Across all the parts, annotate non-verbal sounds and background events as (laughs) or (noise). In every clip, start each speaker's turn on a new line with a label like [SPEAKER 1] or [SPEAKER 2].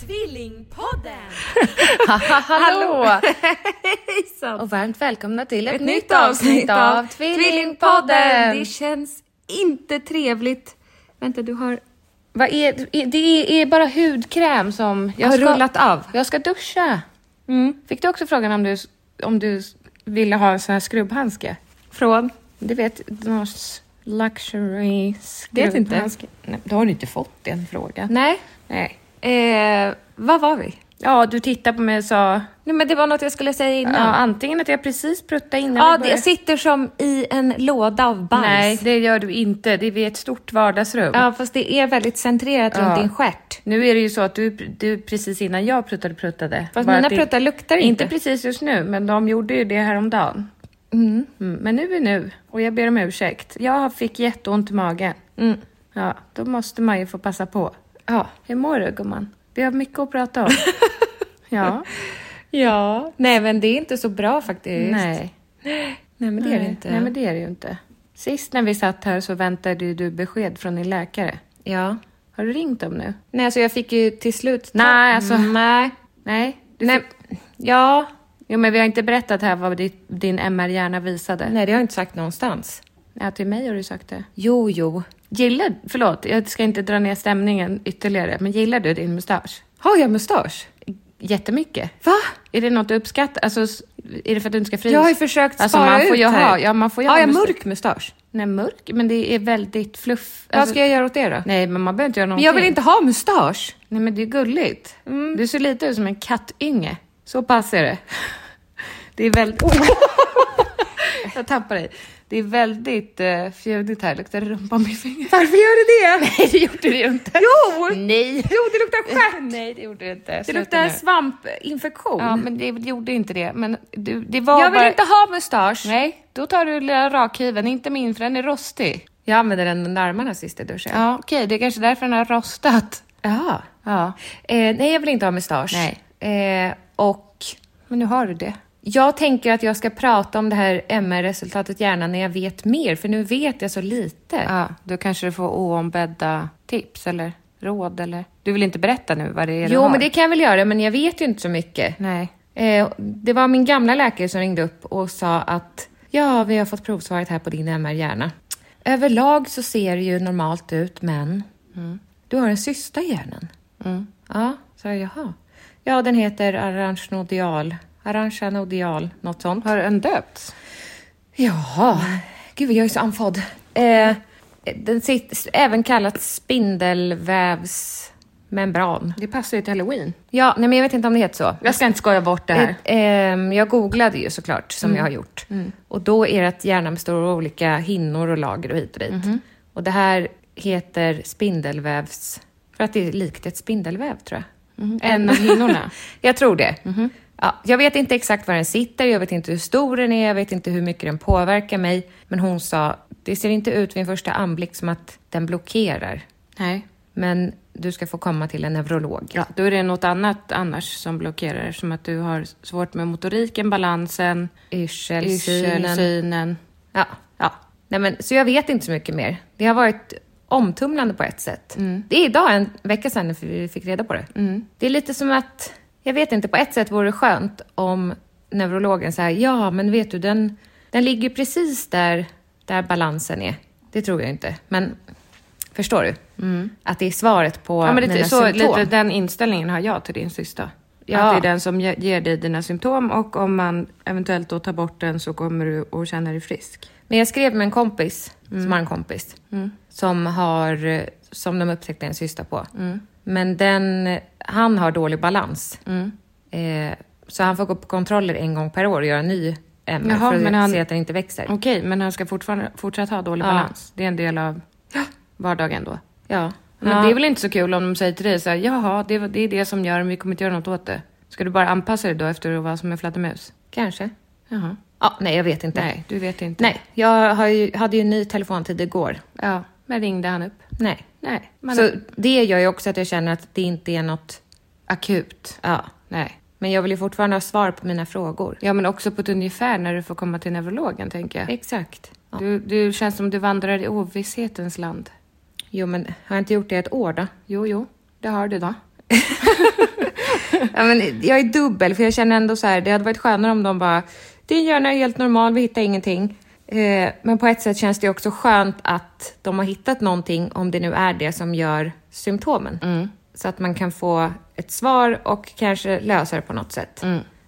[SPEAKER 1] Tvillingpodden!
[SPEAKER 2] Hallå! (laughs)
[SPEAKER 1] Hejsan!
[SPEAKER 2] Och varmt välkomna till ett,
[SPEAKER 1] Ett nytt avsnitt av
[SPEAKER 2] Tvillingpodden!
[SPEAKER 1] Det känns inte trevligt. Vänta, du har
[SPEAKER 2] Vad är, är- det är bara hudkräm som...
[SPEAKER 1] Jag har rullat av.
[SPEAKER 2] Jag ska duscha. Fick du också frågan om du, om du ville ha en sån här skrubbhandske?
[SPEAKER 1] Från?
[SPEAKER 2] Du vet, någon s- luxury
[SPEAKER 1] Vet inte.
[SPEAKER 2] skrubbhandske. Nej, då har du inte fått den frågan.
[SPEAKER 1] Nej.
[SPEAKER 2] Nej.
[SPEAKER 1] Eh, vad var vi?
[SPEAKER 2] Ja, du tittade på mig och sa
[SPEAKER 1] Nej, men det var något jag skulle säga
[SPEAKER 2] ja,
[SPEAKER 1] innan.
[SPEAKER 2] antingen att jag precis pruttade innan
[SPEAKER 1] Ja,
[SPEAKER 2] vi
[SPEAKER 1] det
[SPEAKER 2] började-
[SPEAKER 1] jag sitter som i en låda av bajs.
[SPEAKER 2] Nej, det gör du inte. Det är vid ett stort vardagsrum.
[SPEAKER 1] Ja, fast det är väldigt centrerat runt
[SPEAKER 2] Ja.
[SPEAKER 1] din stjärt.
[SPEAKER 2] Nu är det ju så att du, du precis innan jag pruttade pruttade.
[SPEAKER 1] Fast
[SPEAKER 2] Bara
[SPEAKER 1] mina
[SPEAKER 2] att det-
[SPEAKER 1] pruttar luktar inte.
[SPEAKER 2] Inte precis just nu, men de gjorde ju det häromdagen. Mm, men nu är nu och jag ber om ursäkt. Jag fick jätteont i magen. Ja, då måste man ju få passa på.
[SPEAKER 1] Mm. Ja.
[SPEAKER 2] Hur mår du gumman? Vi har mycket att
[SPEAKER 1] (laughs)
[SPEAKER 2] prata om. ja.
[SPEAKER 1] Ja. Nej, men det är inte så bra faktiskt.
[SPEAKER 2] Nej.
[SPEAKER 1] Nej, men det är det
[SPEAKER 2] Nej.
[SPEAKER 1] inte.
[SPEAKER 2] Nej, men det är det ju inte. Sist när vi satt här så väntade ju du besked från din läkare.
[SPEAKER 1] Ja.
[SPEAKER 2] Har du ringt dem nu?
[SPEAKER 1] Nej, alltså jag fick ju till slut... Mm.
[SPEAKER 2] Nej, alltså-
[SPEAKER 1] Nej.
[SPEAKER 2] Nej? Du
[SPEAKER 1] Nej.
[SPEAKER 2] Fick... Ja. Jo, men vi har inte berättat här vad ditt- din MR-hjärna visade.
[SPEAKER 1] Nej, det har jag inte sagt någonstans.
[SPEAKER 2] Ja, till mig har du sagt det.
[SPEAKER 1] Jo, jo.
[SPEAKER 2] Gillar, förlåt, jag ska inte dra ner stämningen ytterligare, men gillar du din mustasch?
[SPEAKER 1] Har jag mustasch?
[SPEAKER 2] Jättemycket.
[SPEAKER 1] Va?
[SPEAKER 2] Är det något du uppskattar? Alltså, s- är det för att du inte ska frysa?
[SPEAKER 1] Jag har ju försökt spara
[SPEAKER 2] alltså, man får
[SPEAKER 1] ut
[SPEAKER 2] ju
[SPEAKER 1] här.
[SPEAKER 2] ha, Ja, man får ju
[SPEAKER 1] har
[SPEAKER 2] ha
[SPEAKER 1] jag
[SPEAKER 2] mustasch.
[SPEAKER 1] mörk mustasch?
[SPEAKER 2] Nej, mörk, men det är väldigt fluff.
[SPEAKER 1] Vad
[SPEAKER 2] alltså-
[SPEAKER 1] ska jag göra åt det då?
[SPEAKER 2] Nej, men man behöver inte göra
[SPEAKER 1] Men
[SPEAKER 2] någonting.
[SPEAKER 1] jag vill inte ha mustasch! Mm.
[SPEAKER 2] Nej, men det är gulligt. Du ser lite ut som en kattynge. Så pass är det. Det är väldigt... Oh! (laughs) jag tappar dig. Det är väldigt uh, fjädigt här. Luktar det rumpa på mitt finger?
[SPEAKER 1] Varför gör du det?
[SPEAKER 2] (laughs) Nej, det gjorde det ju inte.
[SPEAKER 1] Jo!
[SPEAKER 2] Nej!
[SPEAKER 1] Jo, det luktar stjärt!
[SPEAKER 2] Nej, det gjorde det inte.
[SPEAKER 1] Det
[SPEAKER 2] Sluta
[SPEAKER 1] luktar
[SPEAKER 2] nu.
[SPEAKER 1] svampinfektion.
[SPEAKER 2] Ja, men det gjorde inte det. Men du, det var
[SPEAKER 1] jag vill
[SPEAKER 2] bara...
[SPEAKER 1] inte ha mustasch!
[SPEAKER 2] Nej, då tar du lilla rakhyveln, inte min för den är rostig.
[SPEAKER 1] Jag använde den under armarna sist jag duschade.
[SPEAKER 2] Ja, okej, det är kanske därför den har rostat.
[SPEAKER 1] Jaha.
[SPEAKER 2] Ja.
[SPEAKER 1] Eh, nej, jag vill inte ha mustasch.
[SPEAKER 2] Nej.
[SPEAKER 1] Eh, och
[SPEAKER 2] Men nu har du det.
[SPEAKER 1] jag tänker att jag ska prata om det här MR-resultatet gärna när jag vet mer, för nu vet jag så lite.
[SPEAKER 2] Ja, då kanske du får oombedda tips eller råd eller... Du vill inte berätta nu vad det är du
[SPEAKER 1] Jo,
[SPEAKER 2] har?
[SPEAKER 1] men det kan jag väl göra, men jag vet ju inte så mycket.
[SPEAKER 2] Nej.
[SPEAKER 1] Eh, det var min gamla läkare som ringde upp och sa att ja, vi har fått provsvaret här på din MR-hjärna. Överlag så ser det ju normalt ut, men du har en cysta i hjärnan. Mm. Ja, sa jag. Jaha. Ja, den heter arrangenodial. Arrangenodial, något sånt.
[SPEAKER 2] Har den döpts?
[SPEAKER 1] Jaha. Gud, jag är så andfådd. Eh, den sitter, även kallat spindelvävsmembran.
[SPEAKER 2] Det passar ju till halloween.
[SPEAKER 1] Ja, nej men jag vet inte om det heter så.
[SPEAKER 2] Jag ska inte skoja bort det här. Mm.
[SPEAKER 1] Eh, ehm, jag googlade ju såklart, som jag har gjort. Och då är det att hjärnan består av olika hinnor och lager och hit och dit.
[SPEAKER 2] Mm-hmm.
[SPEAKER 1] Och det här heter spindelvävs... För att det är likt ett spindelväv, tror jag.
[SPEAKER 2] Mm-hmm. En av hinnorna.
[SPEAKER 1] (laughs)
[SPEAKER 2] Mm-hmm.
[SPEAKER 1] jag tror det. Ja, jag vet inte exakt var den sitter, jag vet inte hur stor den är, jag vet inte hur mycket den påverkar mig. Men hon sa, det ser inte ut vid en första anblick som att den blockerar.
[SPEAKER 2] Nej.
[SPEAKER 1] Men du ska få komma till en neurolog.
[SPEAKER 2] Ja, då är det något annat annars som blockerar eftersom att du har svårt med motoriken, balansen,
[SPEAKER 1] Yrselsynen.
[SPEAKER 2] yrselsynen.
[SPEAKER 1] Ja. ja. Nej, men, så jag vet inte så mycket mer. Det har varit omtumlande på ett sätt.
[SPEAKER 2] Mm.
[SPEAKER 1] Det är idag en vecka sedan vi fick reda på det. Det är lite som att, jag vet inte, på ett sätt vore det skönt om neurologen säger ja men vet du den, den ligger precis där, där balansen är. Det tror jag inte, men förstår du? Att det är svaret på
[SPEAKER 2] Mm. Ja, men lite,
[SPEAKER 1] mina
[SPEAKER 2] så,
[SPEAKER 1] symptom.
[SPEAKER 2] lite den inställningen har jag till din syster.
[SPEAKER 1] Ja.
[SPEAKER 2] Att det är den som ge- ger dig dina symptom och om man eventuellt då tar bort den så kommer du att känna dig frisk.
[SPEAKER 1] Men jag skrev med en kompis,
[SPEAKER 2] Mm.
[SPEAKER 1] som har en kompis, som, har, eh, som de upptäckte en cysta på.
[SPEAKER 2] Mm.
[SPEAKER 1] Men den, han har dålig balans.
[SPEAKER 2] Mm.
[SPEAKER 1] Eh, så han får gå på kontroller en gång per år och göra en ny MR
[SPEAKER 2] Jaha,
[SPEAKER 1] för att
[SPEAKER 2] men han-
[SPEAKER 1] se att den inte växer.
[SPEAKER 2] Okej, men han ska fortfarande fortsätta ha dålig
[SPEAKER 1] Ja.
[SPEAKER 2] balans. Det är en del av vardagen då.
[SPEAKER 1] Ja.
[SPEAKER 2] Men
[SPEAKER 1] ja.
[SPEAKER 2] det är väl inte så kul om de säger till dig så här, jaha, det, var- det är det som gör, men vi kommer inte göra något åt det. Ska du bara anpassa dig då efter att vara som en fladdermus?
[SPEAKER 1] Kanske.
[SPEAKER 2] Jaha.
[SPEAKER 1] Ja, nej, jag vet inte.
[SPEAKER 2] Nej, du vet inte.
[SPEAKER 1] Nej, jag har ju, hade ju en ny telefontid igår.
[SPEAKER 2] Ja, men ringde han upp?
[SPEAKER 1] Nej.
[SPEAKER 2] Nej. Man
[SPEAKER 1] så det gör ju också att jag känner att det inte är något...
[SPEAKER 2] akut?
[SPEAKER 1] Ja.
[SPEAKER 2] Nej.
[SPEAKER 1] Men jag vill ju fortfarande ha svar på mina frågor.
[SPEAKER 2] Ja, men också på ett ungefär när du får komma till neurologen, tänker jag.
[SPEAKER 1] Exakt. Ja.
[SPEAKER 2] Du, du känns som du vandrar i ovisshetens land.
[SPEAKER 1] Jo, men har jag inte gjort det i ett år då?
[SPEAKER 2] Jo, jo, det har du då.
[SPEAKER 1] (laughs) Ja, men jag är dubbel, för jag känner ändå så här, det hade varit skönare om de bara, din hjärna är helt normal, vi hittar ingenting. Eh, men på ett sätt känns det också skönt att de har hittat någonting, om det nu är det som gör symptomen.
[SPEAKER 2] Mm.
[SPEAKER 1] Så att man kan få ett svar och kanske lösa det på något sätt.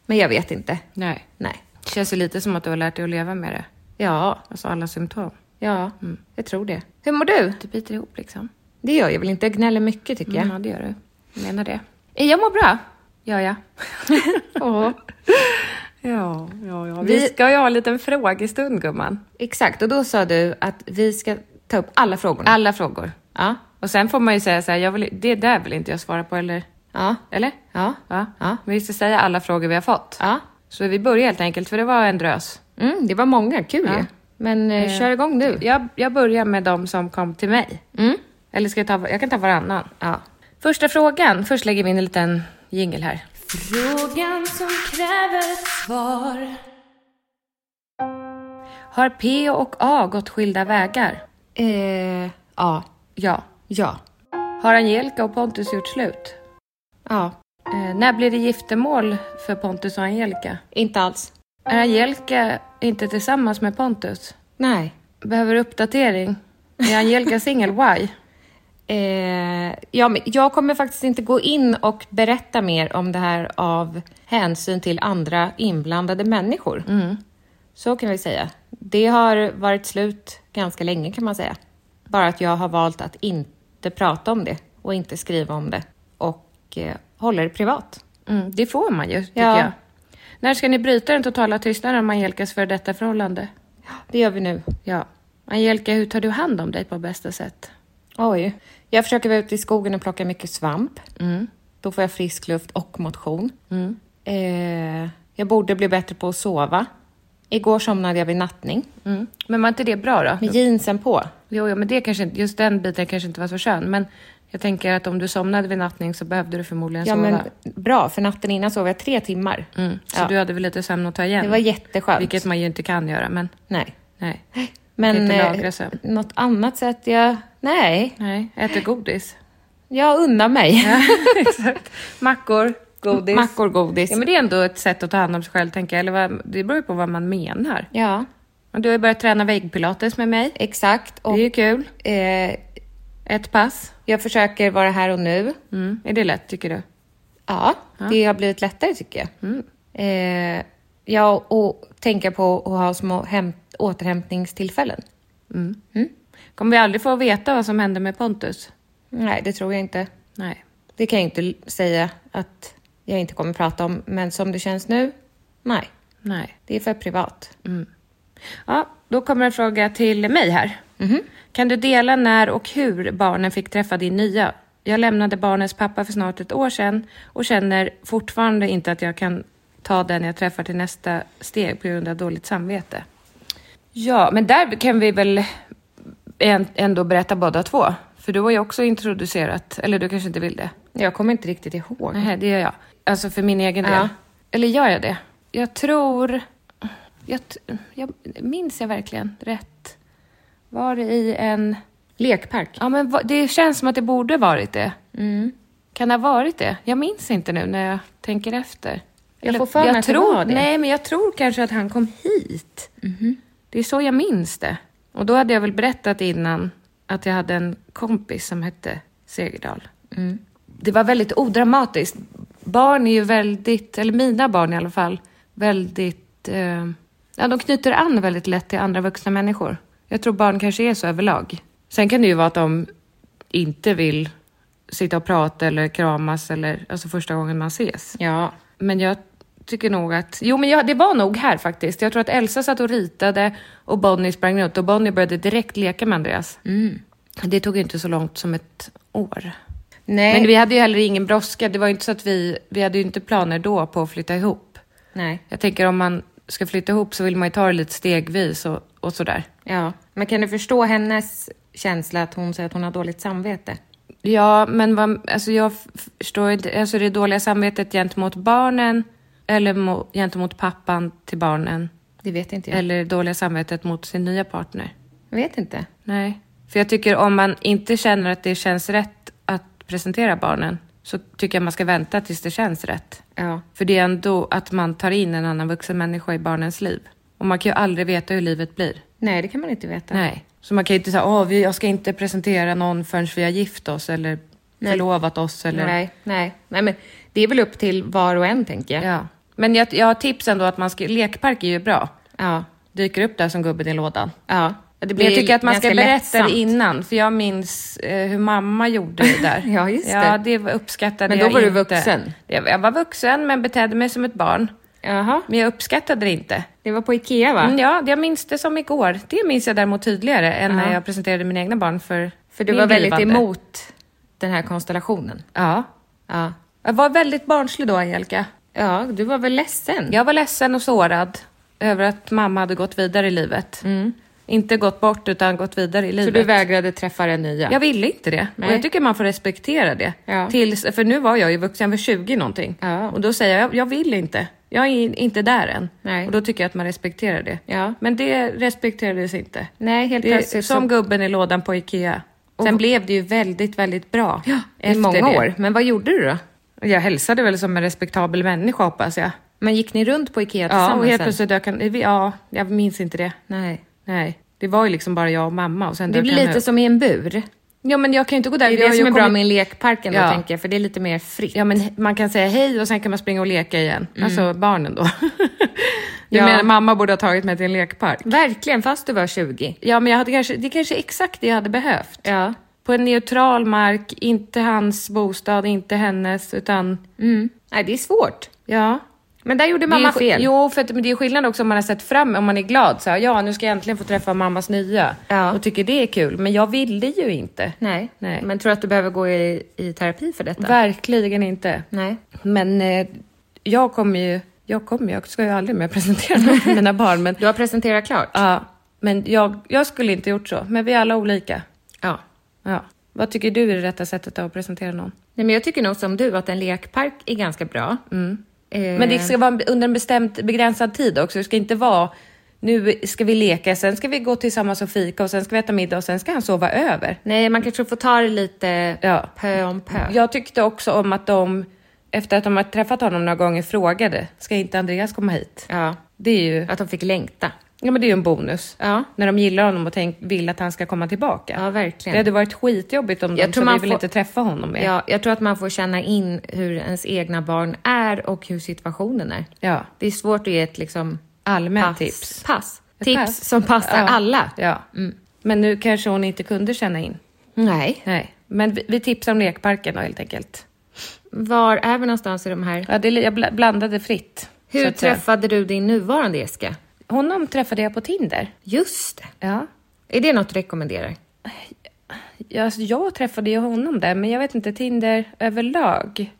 [SPEAKER 1] Men jag vet inte.
[SPEAKER 2] Mm. Nej.
[SPEAKER 1] Nej.
[SPEAKER 2] Det känns ju lite som att du har lärt dig att leva med det.
[SPEAKER 1] Ja,
[SPEAKER 2] Alltså alla symptom. Mm.
[SPEAKER 1] ja, jag tror det. Hur mår du?
[SPEAKER 2] Du biter ihop liksom. Mm,
[SPEAKER 1] Det gör jag väl inte, jag gnäller mycket tycker jag.
[SPEAKER 2] Ja, det gör du. Jag menar det. Eh, Jag mår bra. Gör (laughs) jag. ja. (laughs) Ja, ja, ja. Vi
[SPEAKER 1] Vi-
[SPEAKER 2] ska ju ha en liten frågestund, gumman.
[SPEAKER 1] Exakt, och då sa du att vi ska ta upp alla frågorna.
[SPEAKER 2] Alla frågor.
[SPEAKER 1] Ja.
[SPEAKER 2] Och sen får man ju säga så här, jag vill, det där vill inte jag svara på, eller?
[SPEAKER 1] Ja.
[SPEAKER 2] Eller?
[SPEAKER 1] Ja.
[SPEAKER 2] Ja.
[SPEAKER 1] Ja.
[SPEAKER 2] Men vi ska säga alla frågor vi har fått.
[SPEAKER 1] Ja.
[SPEAKER 2] Så vi börjar helt enkelt, för det var en drös.
[SPEAKER 1] Mm, det var många, kul
[SPEAKER 2] Ja.
[SPEAKER 1] ju. Men eh, kör igång nu. Mm.
[SPEAKER 2] Jag, jag börjar med de som kom till mig. Eller ska jag ta, jag kan ta varannan.
[SPEAKER 1] Ja.
[SPEAKER 2] Första frågan, först lägger vi in en liten jingel här.
[SPEAKER 3] Frågan som kräver ett svar.
[SPEAKER 2] Har P och A gått skilda vägar?
[SPEAKER 1] Eh, ja.
[SPEAKER 2] Ja.
[SPEAKER 1] Ja.
[SPEAKER 2] Har Angelica och Pontus gjort slut?
[SPEAKER 1] Ja.
[SPEAKER 2] Eh, när blir det giftermål för Pontus och Angelica?
[SPEAKER 1] Inte alls.
[SPEAKER 2] Är Angelica inte tillsammans med Pontus?
[SPEAKER 1] Nej.
[SPEAKER 2] Behöver uppdatering? Är Angelica singel? Why?
[SPEAKER 1] (laughs) Eh, ja, men jag kommer faktiskt inte gå in och berätta mer om det här av hänsyn till andra inblandade människor. Så kan vi säga. Det har varit slut ganska länge kan man säga. Bara att jag har valt att inte prata om det och inte skriva om det och eh, håller det privat.
[SPEAKER 2] Mm, det får man ju, tycker
[SPEAKER 1] Ja.
[SPEAKER 2] jag. När ska ni bryta den totala tystnaden om Angelicas före detta förhållande?
[SPEAKER 1] Det gör vi nu.
[SPEAKER 2] Ja. Angelica, hur tar du hand om dig på bästa sätt?
[SPEAKER 1] Oj. Jag försöker vara ute i skogen och plocka mycket svamp.
[SPEAKER 2] Mm.
[SPEAKER 1] Då får jag frisk luft och motion. Eh, jag borde bli bättre på att sova. Igår somnade jag vid nattning
[SPEAKER 2] Mm. Men var inte det bra då?
[SPEAKER 1] med jeansen på.
[SPEAKER 2] Jo, jo, men det kanske inte, just den biten kanske inte var så skön. Men jag tänker att om du somnade vid nattning så behövde du förmodligen
[SPEAKER 1] Ja,
[SPEAKER 2] sova.
[SPEAKER 1] men bra, för natten innan sov jag tre timmar.
[SPEAKER 2] Mm, så
[SPEAKER 1] Ja.
[SPEAKER 2] du hade väl lite sömn att ta igen?
[SPEAKER 1] Det var jätteskönt.
[SPEAKER 2] Vilket man ju inte kan göra, men
[SPEAKER 1] Nej.
[SPEAKER 2] nej.
[SPEAKER 1] Men
[SPEAKER 2] Inte
[SPEAKER 1] eh,
[SPEAKER 2] lagra sömn.
[SPEAKER 1] något annat sätt jag... Nej,
[SPEAKER 2] Nej, äter godis.
[SPEAKER 1] jag unnar mig.
[SPEAKER 2] Exakt. Mackor, godis.
[SPEAKER 1] Mackor, godis.
[SPEAKER 2] Ja, men det är ändå ett sätt att ta hand om sig själv, tänker jag. Eller vad, det beror ju på vad man menar.
[SPEAKER 1] ja,
[SPEAKER 2] Och du har ju börjat träna väggpilates med mig.
[SPEAKER 1] exakt. Och,
[SPEAKER 2] Det är ju kul.
[SPEAKER 1] eh,
[SPEAKER 2] Ett pass.
[SPEAKER 1] jag försöker vara här och nu.
[SPEAKER 2] Mm. Är det lätt, tycker du?
[SPEAKER 1] Ja, det har blivit lättare tycker jag.
[SPEAKER 2] Mm.
[SPEAKER 1] Eh, ja, och tänka på att ha små hämt, återhämtningstillfällen.
[SPEAKER 2] Kommer vi aldrig få veta vad som hände med Pontus?
[SPEAKER 1] Nej, det tror jag inte.
[SPEAKER 2] Nej.
[SPEAKER 1] Det kan jag inte l- säga att jag inte kommer prata om, men som det känns nu, nej.
[SPEAKER 2] Nej. Mm.
[SPEAKER 1] Det är för privat.
[SPEAKER 2] Ja, då kommer en fråga till mig här. Kan du dela när och hur barnen fick träffa din nya? Jag lämnade barnens pappa för snart ett år sedan och känner fortfarande inte att jag kan ta den jag träffar till nästa steg på grund av dåligt samvete. Ja, men där kan vi väl en- ändå berätta båda två. För du har ju också introducerat, eller du kanske inte vill det?
[SPEAKER 1] Jag kommer inte riktigt ihåg.
[SPEAKER 2] Nej, det gör jag. Alltså för min egen del.
[SPEAKER 1] Ja.
[SPEAKER 2] Eller gör jag det? Jag tror... Jag, t- jag, minns jag verkligen rätt? Var det i en
[SPEAKER 1] Lekpark?
[SPEAKER 2] Ja, men va- det känns som att det borde varit det.
[SPEAKER 1] Mm.
[SPEAKER 2] Kan det ha varit det? Jag minns inte nu när jag tänker efter.
[SPEAKER 1] Jag får för mig att det
[SPEAKER 2] tror,
[SPEAKER 1] var det. Mhm.
[SPEAKER 2] Nej, men jag tror kanske att han kom hit. Det är så jag minns det. Och då hade jag väl berättat innan att jag hade en kompis som hette Segerdahl.
[SPEAKER 1] Mm.
[SPEAKER 2] Det var väldigt odramatiskt. Barn är ju väldigt, eller mina barn i alla fall, väldigt... Eh, ja, de knyter an väldigt lätt till andra vuxna människor. Jag tror barn kanske är så överlag. Sen kan det ju vara att de inte vill sitta och prata eller kramas eller alltså första gången man ses.
[SPEAKER 1] Ja.
[SPEAKER 2] Men jag tycker nog att, jo men jag, det var nog här faktiskt. Jag tror att Elsa satt och ritade och Bonnie sprang runt och Bonnie började direkt leka med Andreas. Det tog ju inte så långt som ett år.
[SPEAKER 1] Nej.
[SPEAKER 2] Men vi hade ju heller ingen brådska. Det var ju inte så att vi, vi hade ju inte planer då på att flytta ihop.
[SPEAKER 1] Nej.
[SPEAKER 2] Jag tänker om man ska flytta ihop så vill man ju ta det lite stegvis och, och sådär.
[SPEAKER 1] Ja. Men kan du förstå hennes känsla att hon säger att hon har dåligt samvete?
[SPEAKER 2] Ja, men vad, alltså jag f- förstår inte. Alltså det dåliga samvetet gentemot barnen eller mo, gentemot pappan till barnen.
[SPEAKER 1] Det vet inte jag.
[SPEAKER 2] Eller det dåliga samvetet mot sin nya partner.
[SPEAKER 1] Jag vet inte.
[SPEAKER 2] Nej. För jag tycker om man inte känner att det känns rätt att presentera barnen så tycker jag man ska vänta tills det känns rätt.
[SPEAKER 1] Ja.
[SPEAKER 2] För det är ändå att man tar in en annan vuxen människa i barnens liv. Och man kan ju aldrig veta hur livet blir.
[SPEAKER 1] Nej, det kan man inte veta.
[SPEAKER 2] Nej. Så man kan ju inte säga, åh, vi- jag ska inte presentera någon förrän vi har gift oss eller
[SPEAKER 1] Nej.
[SPEAKER 2] förlovat oss eller...
[SPEAKER 1] Nej, nej. Nej, men det är väl upp till var och en, tänker jag.
[SPEAKER 2] Ja. Men jag, jag har tips ändå att man ska, lekpark är ju bra.
[SPEAKER 1] Ja.
[SPEAKER 2] Dyker upp där som gubben i lådan.
[SPEAKER 1] Ja.
[SPEAKER 2] Det
[SPEAKER 1] Det
[SPEAKER 2] blir
[SPEAKER 1] blir
[SPEAKER 2] jag tycker att man ska
[SPEAKER 1] ganska
[SPEAKER 2] berätta
[SPEAKER 1] lättsamt.
[SPEAKER 2] det innan, för jag minns eh, hur mamma gjorde det där.
[SPEAKER 1] (laughs) Ja, just det.
[SPEAKER 2] Ja, det var- uppskattade
[SPEAKER 1] Men då
[SPEAKER 2] jag
[SPEAKER 1] var du
[SPEAKER 2] inte.
[SPEAKER 1] vuxen.
[SPEAKER 2] Jag, jag var vuxen, men betedde mig som ett barn.
[SPEAKER 1] Jaha.
[SPEAKER 2] Men jag uppskattade det inte.
[SPEAKER 1] Det var på Ikea, va?
[SPEAKER 2] Mm, ja, jag minns det som igår. Det minns jag däremot tydligare än när jag presenterade mina egna barn för
[SPEAKER 1] För du
[SPEAKER 2] min
[SPEAKER 1] var väldigt
[SPEAKER 2] blivande.
[SPEAKER 1] emot den här konstellationen.
[SPEAKER 2] Ja.
[SPEAKER 1] Ja.
[SPEAKER 2] Jag var väldigt barnslig då, Angelica.
[SPEAKER 1] Ja, du var väl ledsen?
[SPEAKER 2] Jag var ledsen och sårad över att mamma hade gått vidare i livet. Inte gått bort, utan gått vidare i
[SPEAKER 1] Mm. Så
[SPEAKER 2] livet.
[SPEAKER 1] du vägrade träffa den nya?
[SPEAKER 2] Jag ville inte det.
[SPEAKER 1] Nej.
[SPEAKER 2] Och jag tycker man får respektera det.
[SPEAKER 1] Ja.
[SPEAKER 2] Tills, för nu var jag ju vuxen, jag var 20 någonting.
[SPEAKER 1] Ja.
[SPEAKER 2] Och då säger jag, jag vill inte. Jag är in- inte där än.
[SPEAKER 1] Nej.
[SPEAKER 2] Och då tycker jag att man respekterar det.
[SPEAKER 1] Ja.
[SPEAKER 2] Men det respekterades inte.
[SPEAKER 1] Nej, helt
[SPEAKER 2] det är
[SPEAKER 1] plötsligt
[SPEAKER 2] som
[SPEAKER 1] så-
[SPEAKER 2] gubben i lådan på Ikea. Sen blev det ju väldigt, väldigt bra.
[SPEAKER 1] Ja, i
[SPEAKER 2] efter
[SPEAKER 1] många
[SPEAKER 2] det.
[SPEAKER 1] år. Men vad gjorde du då?
[SPEAKER 2] Jag hälsade väl som en respektabel människa hoppas jag.
[SPEAKER 1] Men gick ni runt på Ikea
[SPEAKER 2] Ja,
[SPEAKER 1] tillsammans
[SPEAKER 2] och helt
[SPEAKER 1] sen?
[SPEAKER 2] plötsligt dök han... Ja, jag minns inte det.
[SPEAKER 1] Nej.
[SPEAKER 2] Nej. Det var ju liksom bara jag och mamma och sen
[SPEAKER 1] Det
[SPEAKER 2] dök
[SPEAKER 1] blir
[SPEAKER 2] han
[SPEAKER 1] lite
[SPEAKER 2] upp.
[SPEAKER 1] som i en bur.
[SPEAKER 2] Ja, men jag kan ju inte gå där.
[SPEAKER 1] Det är
[SPEAKER 2] Jag har
[SPEAKER 1] det
[SPEAKER 2] ju
[SPEAKER 1] som är bra
[SPEAKER 2] kommit-
[SPEAKER 1] med lekparken då,
[SPEAKER 2] Ja.
[SPEAKER 1] tänker jag, för det är lite mer fritt.
[SPEAKER 2] Ja, men he- man kan säga hej och sen kan man springa och leka igen. Alltså barnen då. Du
[SPEAKER 1] Ja.
[SPEAKER 2] menar mamma borde ha tagit mig till en lekpark?
[SPEAKER 1] Verkligen, fast du var 20.
[SPEAKER 2] Ja, men jag hade kanske, det kanske är exakt det jag hade behövt.
[SPEAKER 1] Ja.
[SPEAKER 2] På en neutral mark, inte hans bostad, inte hennes, utan
[SPEAKER 1] Mm. Nej, det är svårt.
[SPEAKER 2] ja.
[SPEAKER 1] Men där gjorde
[SPEAKER 2] Det är
[SPEAKER 1] mamma
[SPEAKER 2] ju sk-
[SPEAKER 1] fel.
[SPEAKER 2] Jo, för att, men det är skillnad också om man har sett fram om man är glad. Så här, ja, nu ska jag äntligen få träffa mammas nya
[SPEAKER 1] Ja.
[SPEAKER 2] och tycker det är kul. Men jag ville ju inte.
[SPEAKER 1] Nej.
[SPEAKER 2] Nej.
[SPEAKER 1] men tror du att du behöver gå i, i terapi för detta?
[SPEAKER 2] Verkligen inte.
[SPEAKER 1] Nej.
[SPEAKER 2] Men eh, jag kommer ju, jag kommer, jag ska ju aldrig mer presentera någon för mina barn. Men
[SPEAKER 1] Du har presenterat klart?
[SPEAKER 2] Ja, men jag, jag skulle inte gjort så. Men vi är alla olika.
[SPEAKER 1] Ja.
[SPEAKER 2] Ja. Vad tycker du är det rätta sättet att presentera någon?
[SPEAKER 1] Nej, men jag tycker nog som du att en lekpark är ganska bra. Eh,
[SPEAKER 2] Mm. Men det ska vara en- under en bestämd begränsad tid också. Det ska inte vara nu ska vi leka, sen ska vi gå tillsammans och fika och sen ska vi äta middag och sen ska han sova över.
[SPEAKER 1] Nej, man kanske får ta det lite
[SPEAKER 2] Ja.
[SPEAKER 1] pö om pö.
[SPEAKER 2] Jag tyckte också om att de, efter att de har träffat honom några gånger, frågade ska inte Andreas komma hit?
[SPEAKER 1] Ja.
[SPEAKER 2] Det är ju,
[SPEAKER 1] Att de fick längta.
[SPEAKER 2] ja, men det är ju en bonus.
[SPEAKER 1] Ja.
[SPEAKER 2] När de gillar honom och tänk, vill att han ska komma tillbaka.
[SPEAKER 1] Ja, verkligen.
[SPEAKER 2] Det hade varit skitjobbigt om
[SPEAKER 1] Jag
[SPEAKER 2] de
[SPEAKER 1] tror
[SPEAKER 2] sa vi
[SPEAKER 1] man
[SPEAKER 2] vill
[SPEAKER 1] får-
[SPEAKER 2] inte träffa honom mer.
[SPEAKER 1] Ja, jag tror att man får känna in hur ens egna barn är och hur situationen är.
[SPEAKER 2] Ja.
[SPEAKER 1] Det är svårt att ge ett liksom...
[SPEAKER 2] Allmänt
[SPEAKER 1] pass.
[SPEAKER 2] tips.
[SPEAKER 1] Pass.
[SPEAKER 2] Ett
[SPEAKER 1] tips
[SPEAKER 2] pass.
[SPEAKER 1] som passar
[SPEAKER 2] Ja.
[SPEAKER 1] alla.
[SPEAKER 2] Ja.
[SPEAKER 1] Mm.
[SPEAKER 2] Men nu kanske hon inte kunde känna in.
[SPEAKER 1] Nej.
[SPEAKER 2] Nej. Men vi, vi tipsar om lekparken då, helt enkelt.
[SPEAKER 1] Var är vi någonstans i de här?
[SPEAKER 2] Ja, det, jag bla- blandade fritt. så
[SPEAKER 1] Hur
[SPEAKER 2] att säga.
[SPEAKER 1] träffade du din nuvarande Jessica?
[SPEAKER 2] Honom träffade jag på Tinder.
[SPEAKER 1] Just det.
[SPEAKER 2] Ja.
[SPEAKER 1] Är det något du rekommenderar?
[SPEAKER 2] Jag, alltså, jag träffade ju honom där, men jag vet inte, Tinder överlag.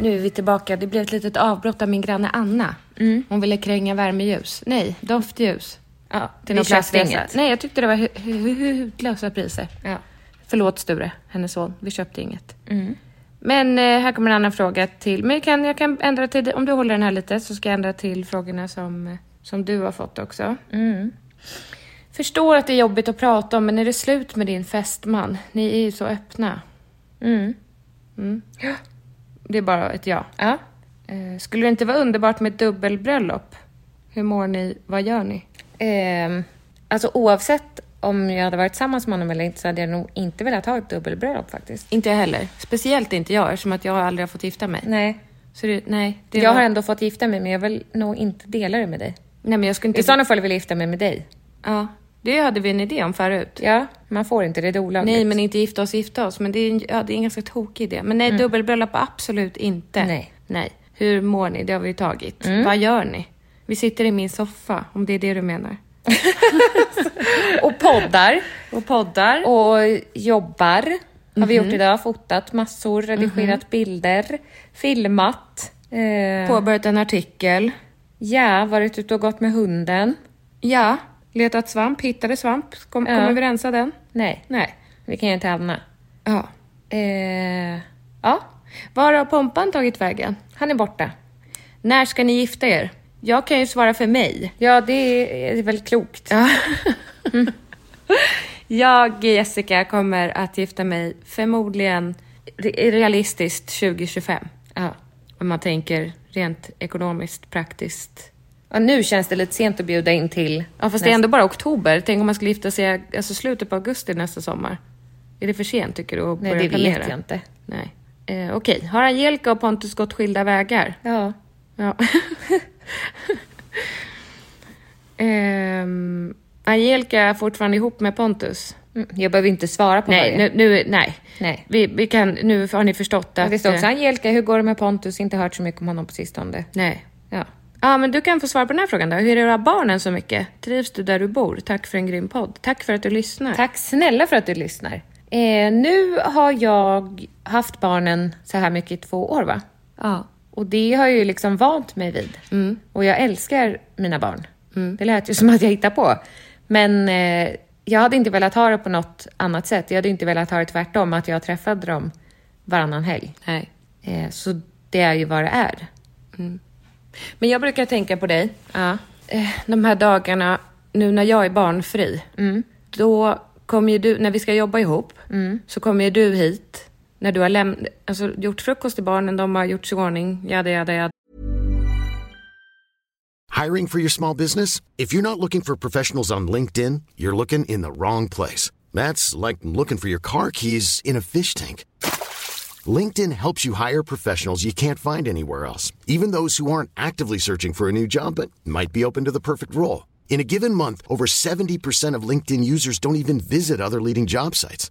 [SPEAKER 2] Nu är vi tillbaka. Det blev ett litet avbrott av min granne Anna. Hon ville kränga värmeljus. Nej, doftljus.
[SPEAKER 1] Ja,
[SPEAKER 2] Vi
[SPEAKER 1] till något
[SPEAKER 2] köpte
[SPEAKER 1] plastringet.
[SPEAKER 2] inget. Nej, jag tyckte det var hu- hu- hu- hutlösa priser.
[SPEAKER 1] Ja.
[SPEAKER 2] Förlåt Sture, hennes son. Vi köpte inget. Men eh, här kommer en annan fråga till. Men jag kan, jag kan ändra till, om du eh, håller den här lite så ska jag ändra till frågorna som, som du har fått också. Mm. Förstår att det är jobbigt att prata om, men är det slut med din fästman? Ni är ju så öppna. Mm. Det är bara ett ja.
[SPEAKER 1] Ja.
[SPEAKER 2] Eh, skulle det inte vara underbart med ett dubbelbröllop? Hur mår ni? Vad gör ni?
[SPEAKER 1] Ehm, alltså oavsett om jag hade varit tillsammans med honom eller inte så hade jag nog inte velat ha ett dubbelbröllop faktiskt.
[SPEAKER 2] Inte jag heller. Speciellt inte jag, eftersom att jag aldrig har fått gifta mig.
[SPEAKER 1] Nej.
[SPEAKER 2] Så det, nej. Det
[SPEAKER 1] Jag
[SPEAKER 2] var-
[SPEAKER 1] har ändå fått gifta mig men jag vill nog inte dela det med dig.
[SPEAKER 2] Nej, men jag skulle inte...
[SPEAKER 1] I sådana fall vill jag gifta mig med dig.
[SPEAKER 2] Ja, det hade vi en idé om förut.
[SPEAKER 1] Ja, man får inte det, det är olagligt.
[SPEAKER 2] Nej, men inte gifta oss, gifta oss. Men det är, en- ja, det är en ganska tokig idé. Men nej, dubbelbröllop absolut inte.
[SPEAKER 1] Mm. Nej. Mm.
[SPEAKER 2] Nej. Hur mår ni? Det har vi ju tagit. Vad gör ni? Vi sitter i min soffa, om det är det du menar.
[SPEAKER 1] Och poddar.
[SPEAKER 2] Och poddar.
[SPEAKER 1] Och jobbar. Har vi gjort idag. Fotat massor, redigerat bilder, filmat. Eh,
[SPEAKER 2] Påbörjat en artikel.
[SPEAKER 1] ja, varit ute och gått med hunden.
[SPEAKER 2] Ja. Letat svamp, hittade svamp. Kom,
[SPEAKER 1] Ja.
[SPEAKER 2] Kommer vi rensa den?
[SPEAKER 1] Nej,
[SPEAKER 2] Nej.
[SPEAKER 1] vi kan ju inte hamna.
[SPEAKER 2] Ja.
[SPEAKER 1] Eh,
[SPEAKER 2] Ja. Var har Pompan tagit vägen?
[SPEAKER 1] han är borta.
[SPEAKER 2] När ska ni gifta er? Jag kan ju svara för mig.
[SPEAKER 1] Ja, det är, är väl klokt.
[SPEAKER 2] (laughs) Jag, Jessica, kommer att gifta mig förmodligen re- realistiskt 2025.
[SPEAKER 1] Ja.
[SPEAKER 2] Om man tänker rent ekonomiskt, praktiskt.
[SPEAKER 1] Ja, nu känns det lite sent att bjuda in till.
[SPEAKER 2] Ja, fast det är ändå bara oktober. Tänk om man skulle gifta sig alltså slutet på augusti nästa sommar. Är det för sent tycker du att
[SPEAKER 1] Nej,
[SPEAKER 2] börja
[SPEAKER 1] det
[SPEAKER 2] planera?
[SPEAKER 1] vet jag inte.
[SPEAKER 2] Nej. Eh, Okej, har Angelica och Pontus gått skilda vägar?
[SPEAKER 1] Ja.
[SPEAKER 2] Ja. Ehm, Angelica är fortfarande ihop med Pontus?
[SPEAKER 1] Mm, Jag behöver inte svara på
[SPEAKER 2] Nej,
[SPEAKER 1] varje.
[SPEAKER 2] nu, nu, nej.
[SPEAKER 1] Nej.
[SPEAKER 2] Vi, vi kan, nu har ni förstått
[SPEAKER 1] Men
[SPEAKER 2] att...
[SPEAKER 1] det står också
[SPEAKER 2] eh,
[SPEAKER 1] Angelica, hur går det med Pontus? Inte hört så mycket om honom på sistone.
[SPEAKER 2] Nej.
[SPEAKER 1] Ja.
[SPEAKER 2] Ja, men du kan få svar på den här frågan då. Hur är det att ha barnen så mycket? Trivs du där du bor? Tack för en grym podd. Tack för att du lyssnar.
[SPEAKER 1] Tack snälla för att du lyssnar. Eh, nu har jag haft barnen så här mycket i två år va?
[SPEAKER 2] Ja.
[SPEAKER 1] Och det har jag ju liksom vant mig vid.
[SPEAKER 2] Mm.
[SPEAKER 1] Och jag älskar mina barn. Det lät ju (laughs) som att jag hittar på. Men eh, jag hade inte velat ha det på något annat sätt. Jag hade inte velat ha det tvärtom, att jag träffade dem varannan helg.
[SPEAKER 2] Nej. Mm.
[SPEAKER 1] Eh, så det är ju vad det är.
[SPEAKER 2] Men jag brukar tänka på dig. Eh, De här dagarna, nu när jag är barnfri.
[SPEAKER 1] Mm.
[SPEAKER 2] Då kommer ju du, när vi ska jobba ihop, så kommer ju du hit. När du har läm- alltså, gjort frukost till barnen, de har gjort sig i ordning, jada, jada, jada.
[SPEAKER 4] Hiring for your small business? If you're not looking for professionals on LinkedIn, you're looking in the wrong place. That's like looking for your car keys in a fish tank. LinkedIn helps you hire professionals you can't find anywhere else, even those who aren't actively searching for a new job but might be open to the perfect role. In a given month, over 70% of LinkedIn users don't even visit other leading job sites.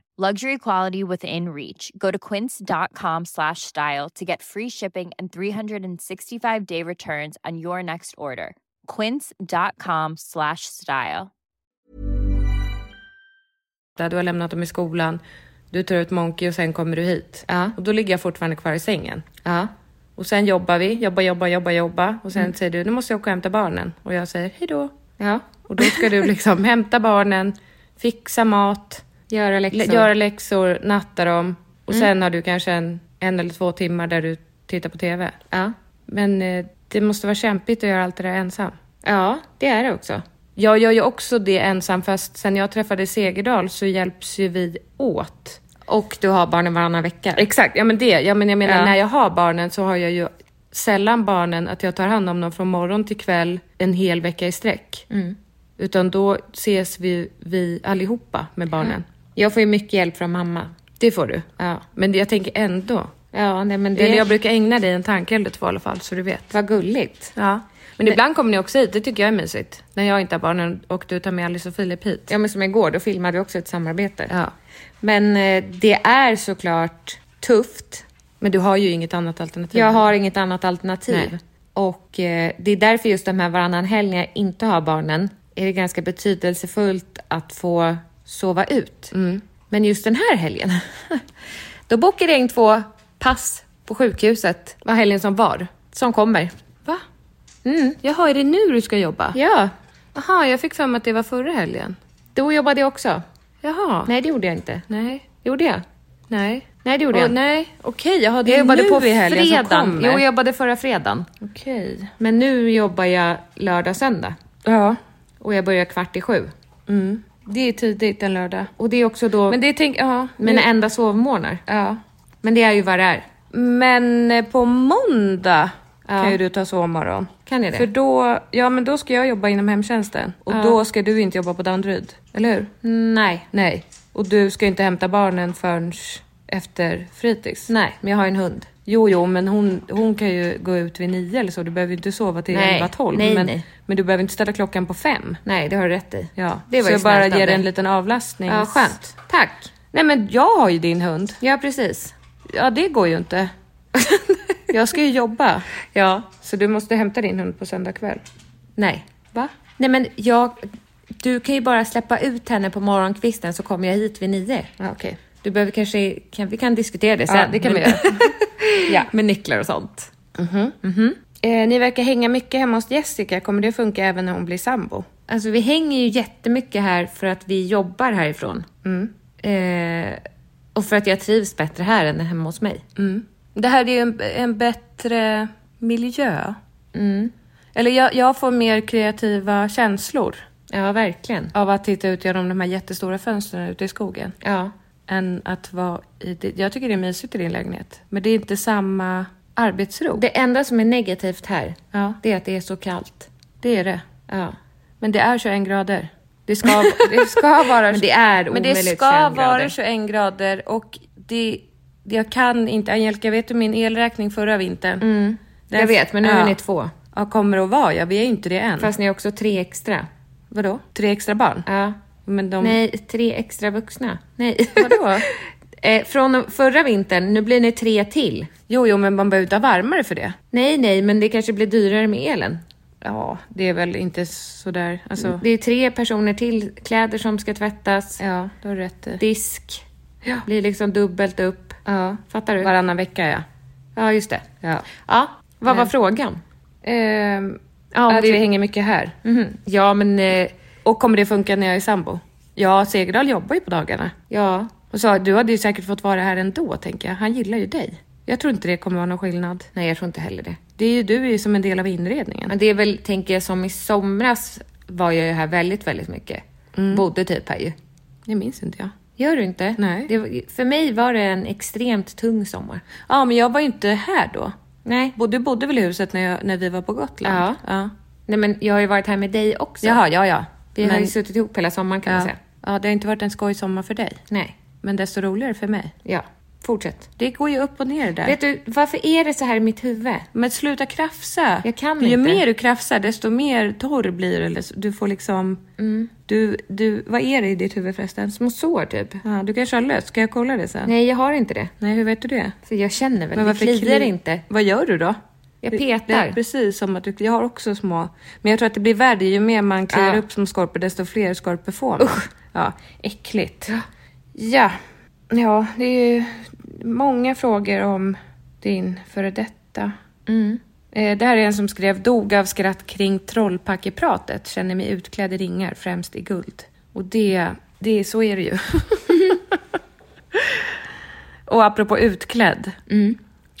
[SPEAKER 5] Luxury quality within reach. Go to quince.com slash style to get free shipping and 365 day returns on your next order. Quince.com slash style.
[SPEAKER 2] Du har lämnat dem i skolan, du tar ut Monkey och sen kommer du hit.
[SPEAKER 1] Ja.
[SPEAKER 2] Och då ligger jag fortfarande kvar i sängen.
[SPEAKER 1] Ja. Mm.
[SPEAKER 2] Och sen jobbar vi, jobba, jobba, jobba, jobba. Och sen säger du, nu måste jag åka och hämta barnen. Och jag säger, hej då.
[SPEAKER 1] Ja.
[SPEAKER 2] Och då ska du liksom (laughs) hämta barnen, fixa mat,
[SPEAKER 1] Göra läxor.
[SPEAKER 2] lä- göra läxor, natta dem. Och
[SPEAKER 1] Mm.
[SPEAKER 2] sen har du kanske en, en eller två timmar där du tittar på TV.
[SPEAKER 1] Ja.
[SPEAKER 2] Men eh, det måste vara kämpigt att göra allt det där ensam.
[SPEAKER 1] ja, det är det också.
[SPEAKER 2] Jag gör ju också det ensam, fast sen jag träffade Segerdal så hjälps ju vi åt.
[SPEAKER 1] Och du har barnen varannan vecka.
[SPEAKER 2] Exakt, ja men det. Ja, men jag menar
[SPEAKER 1] Ja.
[SPEAKER 2] när jag har barnen så har jag ju sällan barnen att jag tar hand om dem från morgon till kväll en hel vecka i sträck.
[SPEAKER 1] Mm.
[SPEAKER 2] Utan då ses vi, vi allihopa med barnen.
[SPEAKER 1] Jag får ju mycket hjälp från mamma.
[SPEAKER 2] Det får du.
[SPEAKER 1] Ja.
[SPEAKER 2] Men jag tänker ändå.
[SPEAKER 1] Ja, nej, men
[SPEAKER 2] Eller
[SPEAKER 1] det
[SPEAKER 2] jag brukar ägna dig en tanke eller två i alla fall så du vet.
[SPEAKER 1] var gulligt.
[SPEAKER 2] Ja. Men ibland kommer ni också hit, det tycker jag är mysigt. När jag inte har barnen och du tar med Alice och Filip hit.
[SPEAKER 1] Ja, men som igår, då filmade vi också ett samarbete.
[SPEAKER 2] Ja.
[SPEAKER 1] Men eh, det är såklart tufft.
[SPEAKER 2] Men du har ju inget annat alternativ.
[SPEAKER 1] Jag har inget annat alternativ.
[SPEAKER 2] Nej.
[SPEAKER 1] Och eh, det är därför just de här varannan helg när jag inte har barnen är det ganska betydelsefullt att få sova ut.
[SPEAKER 2] Mm.
[SPEAKER 1] Men just den här helgen, (laughs) då bokade jag in två pass på sjukhuset
[SPEAKER 2] Vad helgen som var.
[SPEAKER 1] som kommer. Mm.
[SPEAKER 2] Va? Jaha, är det nu du ska jobba?
[SPEAKER 1] Ja,
[SPEAKER 2] Jaha, jag fick för mig att det var förra helgen.
[SPEAKER 1] då jobbade jag också.
[SPEAKER 2] Jaha.
[SPEAKER 1] Nej, det gjorde jag inte.
[SPEAKER 2] Nej.
[SPEAKER 1] Gjorde jag?
[SPEAKER 2] Nej.
[SPEAKER 1] Nej, det gjorde
[SPEAKER 2] Åh,
[SPEAKER 1] jag.
[SPEAKER 2] nej, okej. Jaha, det
[SPEAKER 1] Jag
[SPEAKER 2] är
[SPEAKER 1] jobbade
[SPEAKER 2] nu
[SPEAKER 1] på i helgen som
[SPEAKER 2] fredagen.
[SPEAKER 1] kommer.
[SPEAKER 2] Jo, jag jobbade förra fredagen.
[SPEAKER 1] Okej. Men nu jobbar jag lördag, söndag
[SPEAKER 2] Ja.
[SPEAKER 1] och jag börjar kvart i sju.
[SPEAKER 2] Mm. Det är tidigt en lördag.
[SPEAKER 1] Och det är också då
[SPEAKER 2] Men det tänk, ja.
[SPEAKER 1] mina enda sovmorgnar.
[SPEAKER 2] ja.
[SPEAKER 1] Men det är ju vad det är.
[SPEAKER 2] Men eh, på måndag
[SPEAKER 1] Ja.
[SPEAKER 2] kan ju du ta sovmorgon.
[SPEAKER 1] Kan jag det?
[SPEAKER 2] För då, ja men då ska jag jobba inom hemtjänsten. Och då ska du inte jobba på Danderyd, eller hur?
[SPEAKER 1] Nej.
[SPEAKER 2] Nej. Och du ska ju inte hämta barnen förrän efter fritids.
[SPEAKER 1] Nej, men jag har en hund.
[SPEAKER 2] Jo, jo, men hon, hon kan ju gå ut vid nio eller så. Du behöver ju inte sova till
[SPEAKER 1] Nej.
[SPEAKER 2] elva, tolv.
[SPEAKER 1] Nej,
[SPEAKER 2] men,
[SPEAKER 1] nej.
[SPEAKER 2] men du behöver inte ställa klockan på fem.
[SPEAKER 1] Nej, det har du rätt i.
[SPEAKER 2] Ja,
[SPEAKER 1] det var
[SPEAKER 2] så
[SPEAKER 1] ju
[SPEAKER 2] jag bara
[SPEAKER 1] snällt av
[SPEAKER 2] ger dig
[SPEAKER 1] dig.
[SPEAKER 2] en liten avlastning.
[SPEAKER 1] Ja, skönt. Tack.
[SPEAKER 2] Nej, men jag har ju din hund.
[SPEAKER 1] Ja, precis.
[SPEAKER 2] Ja, det går ju (laughs) inte. jag ska ju jobba.
[SPEAKER 1] Ja.
[SPEAKER 2] Så du måste hämta din hund på söndag kväll.
[SPEAKER 1] Nej.
[SPEAKER 2] Va?
[SPEAKER 1] Nej, men jag... Du kan ju bara släppa ut henne på morgonkvisten så kommer jag hit vid nio.
[SPEAKER 2] Ja, okej.
[SPEAKER 1] Du behöver kanske... Kan, vi kan diskutera det sen.
[SPEAKER 2] det kan vi
[SPEAKER 1] Men- (laughs)
[SPEAKER 2] Ja.
[SPEAKER 1] Med nycklar och sånt.
[SPEAKER 2] Eh, ni verkar hänga mycket hemma hos Jessica. Kommer det funka även när hon blir sambo?
[SPEAKER 1] Alltså vi hänger ju jättemycket här för att vi jobbar härifrån. Eh, och för att jag trivs bättre här än hemma hos mig.
[SPEAKER 2] Mm. Det här är ju en, en bättre miljö. Eller jag, jag får mer kreativa känslor
[SPEAKER 1] Ja, verkligen.
[SPEAKER 2] av att titta ut genom de här jättestora fönstren ute i skogen.
[SPEAKER 1] Ja.
[SPEAKER 2] Än att vara i det. Jag tycker det är mysigt i din lägenhet. Men det är inte samma arbetsro.
[SPEAKER 1] Det enda som är negativt här,
[SPEAKER 2] Ja.
[SPEAKER 1] det är att det är så kallt.
[SPEAKER 2] det är det.
[SPEAKER 1] Ja.
[SPEAKER 2] Men det är 21 grader. Det ska, det
[SPEAKER 1] (laughs)
[SPEAKER 2] ska vara...
[SPEAKER 1] Men det är
[SPEAKER 2] Men det
[SPEAKER 1] omöjligt
[SPEAKER 2] ska
[SPEAKER 1] 21 grader.
[SPEAKER 2] vara 21 grader och det... det- Jag kan inte... Angelica, vet du min elräkning förra vintern?
[SPEAKER 1] Mm. Jag vet, men nu
[SPEAKER 2] Ja.
[SPEAKER 1] är ni två.
[SPEAKER 2] Ja, kommer att vara ja. Vi är ju inte det än.
[SPEAKER 1] Fast ni är också tre extra.
[SPEAKER 2] vadå? Tre extra barn?
[SPEAKER 1] Ja.
[SPEAKER 2] Men de...
[SPEAKER 1] Nej, tre extra vuxna. Nej.
[SPEAKER 2] Vadå?
[SPEAKER 1] (laughs) Eh, Från förra vintern, nu blir ni tre till.
[SPEAKER 2] Jo, jo, men man behöver inte ha varmare för det.
[SPEAKER 1] Nej, nej, men det kanske blir dyrare med elen. Mm,
[SPEAKER 2] Ja, det är väl inte sådär... Alltså...
[SPEAKER 1] Det är tre personer till, kläder som ska tvättas,
[SPEAKER 2] Ja, du har rätt i.
[SPEAKER 1] disk, blir liksom dubbelt upp.
[SPEAKER 2] Ja.
[SPEAKER 1] Fattar du?
[SPEAKER 2] Varannan vecka ja.
[SPEAKER 1] Ja, just det.
[SPEAKER 2] Ja. Eh,
[SPEAKER 1] Ja, vad var frågan?
[SPEAKER 2] Ehm,
[SPEAKER 1] Ja,
[SPEAKER 2] att
[SPEAKER 1] vad
[SPEAKER 2] vi
[SPEAKER 1] vi-
[SPEAKER 2] hänger mycket här.
[SPEAKER 1] Mhm. Ja, men eh,
[SPEAKER 2] Och kommer det funka när jag är sambo? Ja, Segerdal jobbar ju på dagarna.
[SPEAKER 1] ja.
[SPEAKER 2] Och sa du hade ju säkert fått vara här ändå, tänker jag. Han gillar ju dig. Jag tror inte det kommer vara någon skillnad.
[SPEAKER 1] Nej, jag tror inte heller det.
[SPEAKER 2] Det är ju du är ju som en del av inredningen.
[SPEAKER 1] Men det är väl, tänker jag, som i somras var jag ju här väldigt, väldigt mycket. Bodde typ här ju.
[SPEAKER 2] Mm. Det minns inte jag.
[SPEAKER 1] Gör du inte?
[SPEAKER 2] Nej.
[SPEAKER 1] Det, var- för mig var det en extremt tung sommar.
[SPEAKER 2] Ja, men jag var ju inte här då.
[SPEAKER 1] Nej.
[SPEAKER 2] Bo- Du bodde väl i huset när, jag, när vi var på Gotland?
[SPEAKER 1] Ja. Nej, men jag har ju varit här med dig också.
[SPEAKER 2] Jaha, ja, ja.
[SPEAKER 1] Vi har ju suttit ihop hela sommaren kan man
[SPEAKER 2] ja.
[SPEAKER 1] säga.
[SPEAKER 2] ja, det har inte varit en skoj sommar för dig.
[SPEAKER 1] Nej.
[SPEAKER 2] Men desto roligare för mig.
[SPEAKER 1] Ja. Fortsätt.
[SPEAKER 2] Det går ju upp och ner där.
[SPEAKER 1] Vet du, varför är det så här i mitt huvud?
[SPEAKER 2] Men sluta krafsa.
[SPEAKER 1] Jag kan
[SPEAKER 2] För ju
[SPEAKER 1] inte.
[SPEAKER 2] mer du krafsar, desto mer torr blir du. eller så- Du får liksom... Du, du, vad är det i ditt huvud förresten?
[SPEAKER 1] Mm. Små sår typ.
[SPEAKER 2] Ja, du kanske har löst. Ska jag kolla det sen?
[SPEAKER 1] Nej, jag har inte det.
[SPEAKER 2] Nej, hur vet du det?
[SPEAKER 1] Så jag känner väl, det kliar
[SPEAKER 2] kli-
[SPEAKER 1] inte.
[SPEAKER 2] Vad gör du då?
[SPEAKER 1] Jag
[SPEAKER 2] Det-
[SPEAKER 1] petar.
[SPEAKER 2] Det är precis som att du, jag har också små. Men jag tror att det blir värre. Ju mer man kliar
[SPEAKER 1] Ja.
[SPEAKER 2] upp som skorpor, desto fler skorpor får man. Ja, äckligt. Ja. ja, det är ju många frågor om din före detta. Eh, Det här är en som skrev dog av skratt kring trollpackepratet. Känner mig utklädd i ringar, främst i guld. Och det, det så är det (laughs) ju. Och apropå utklädd.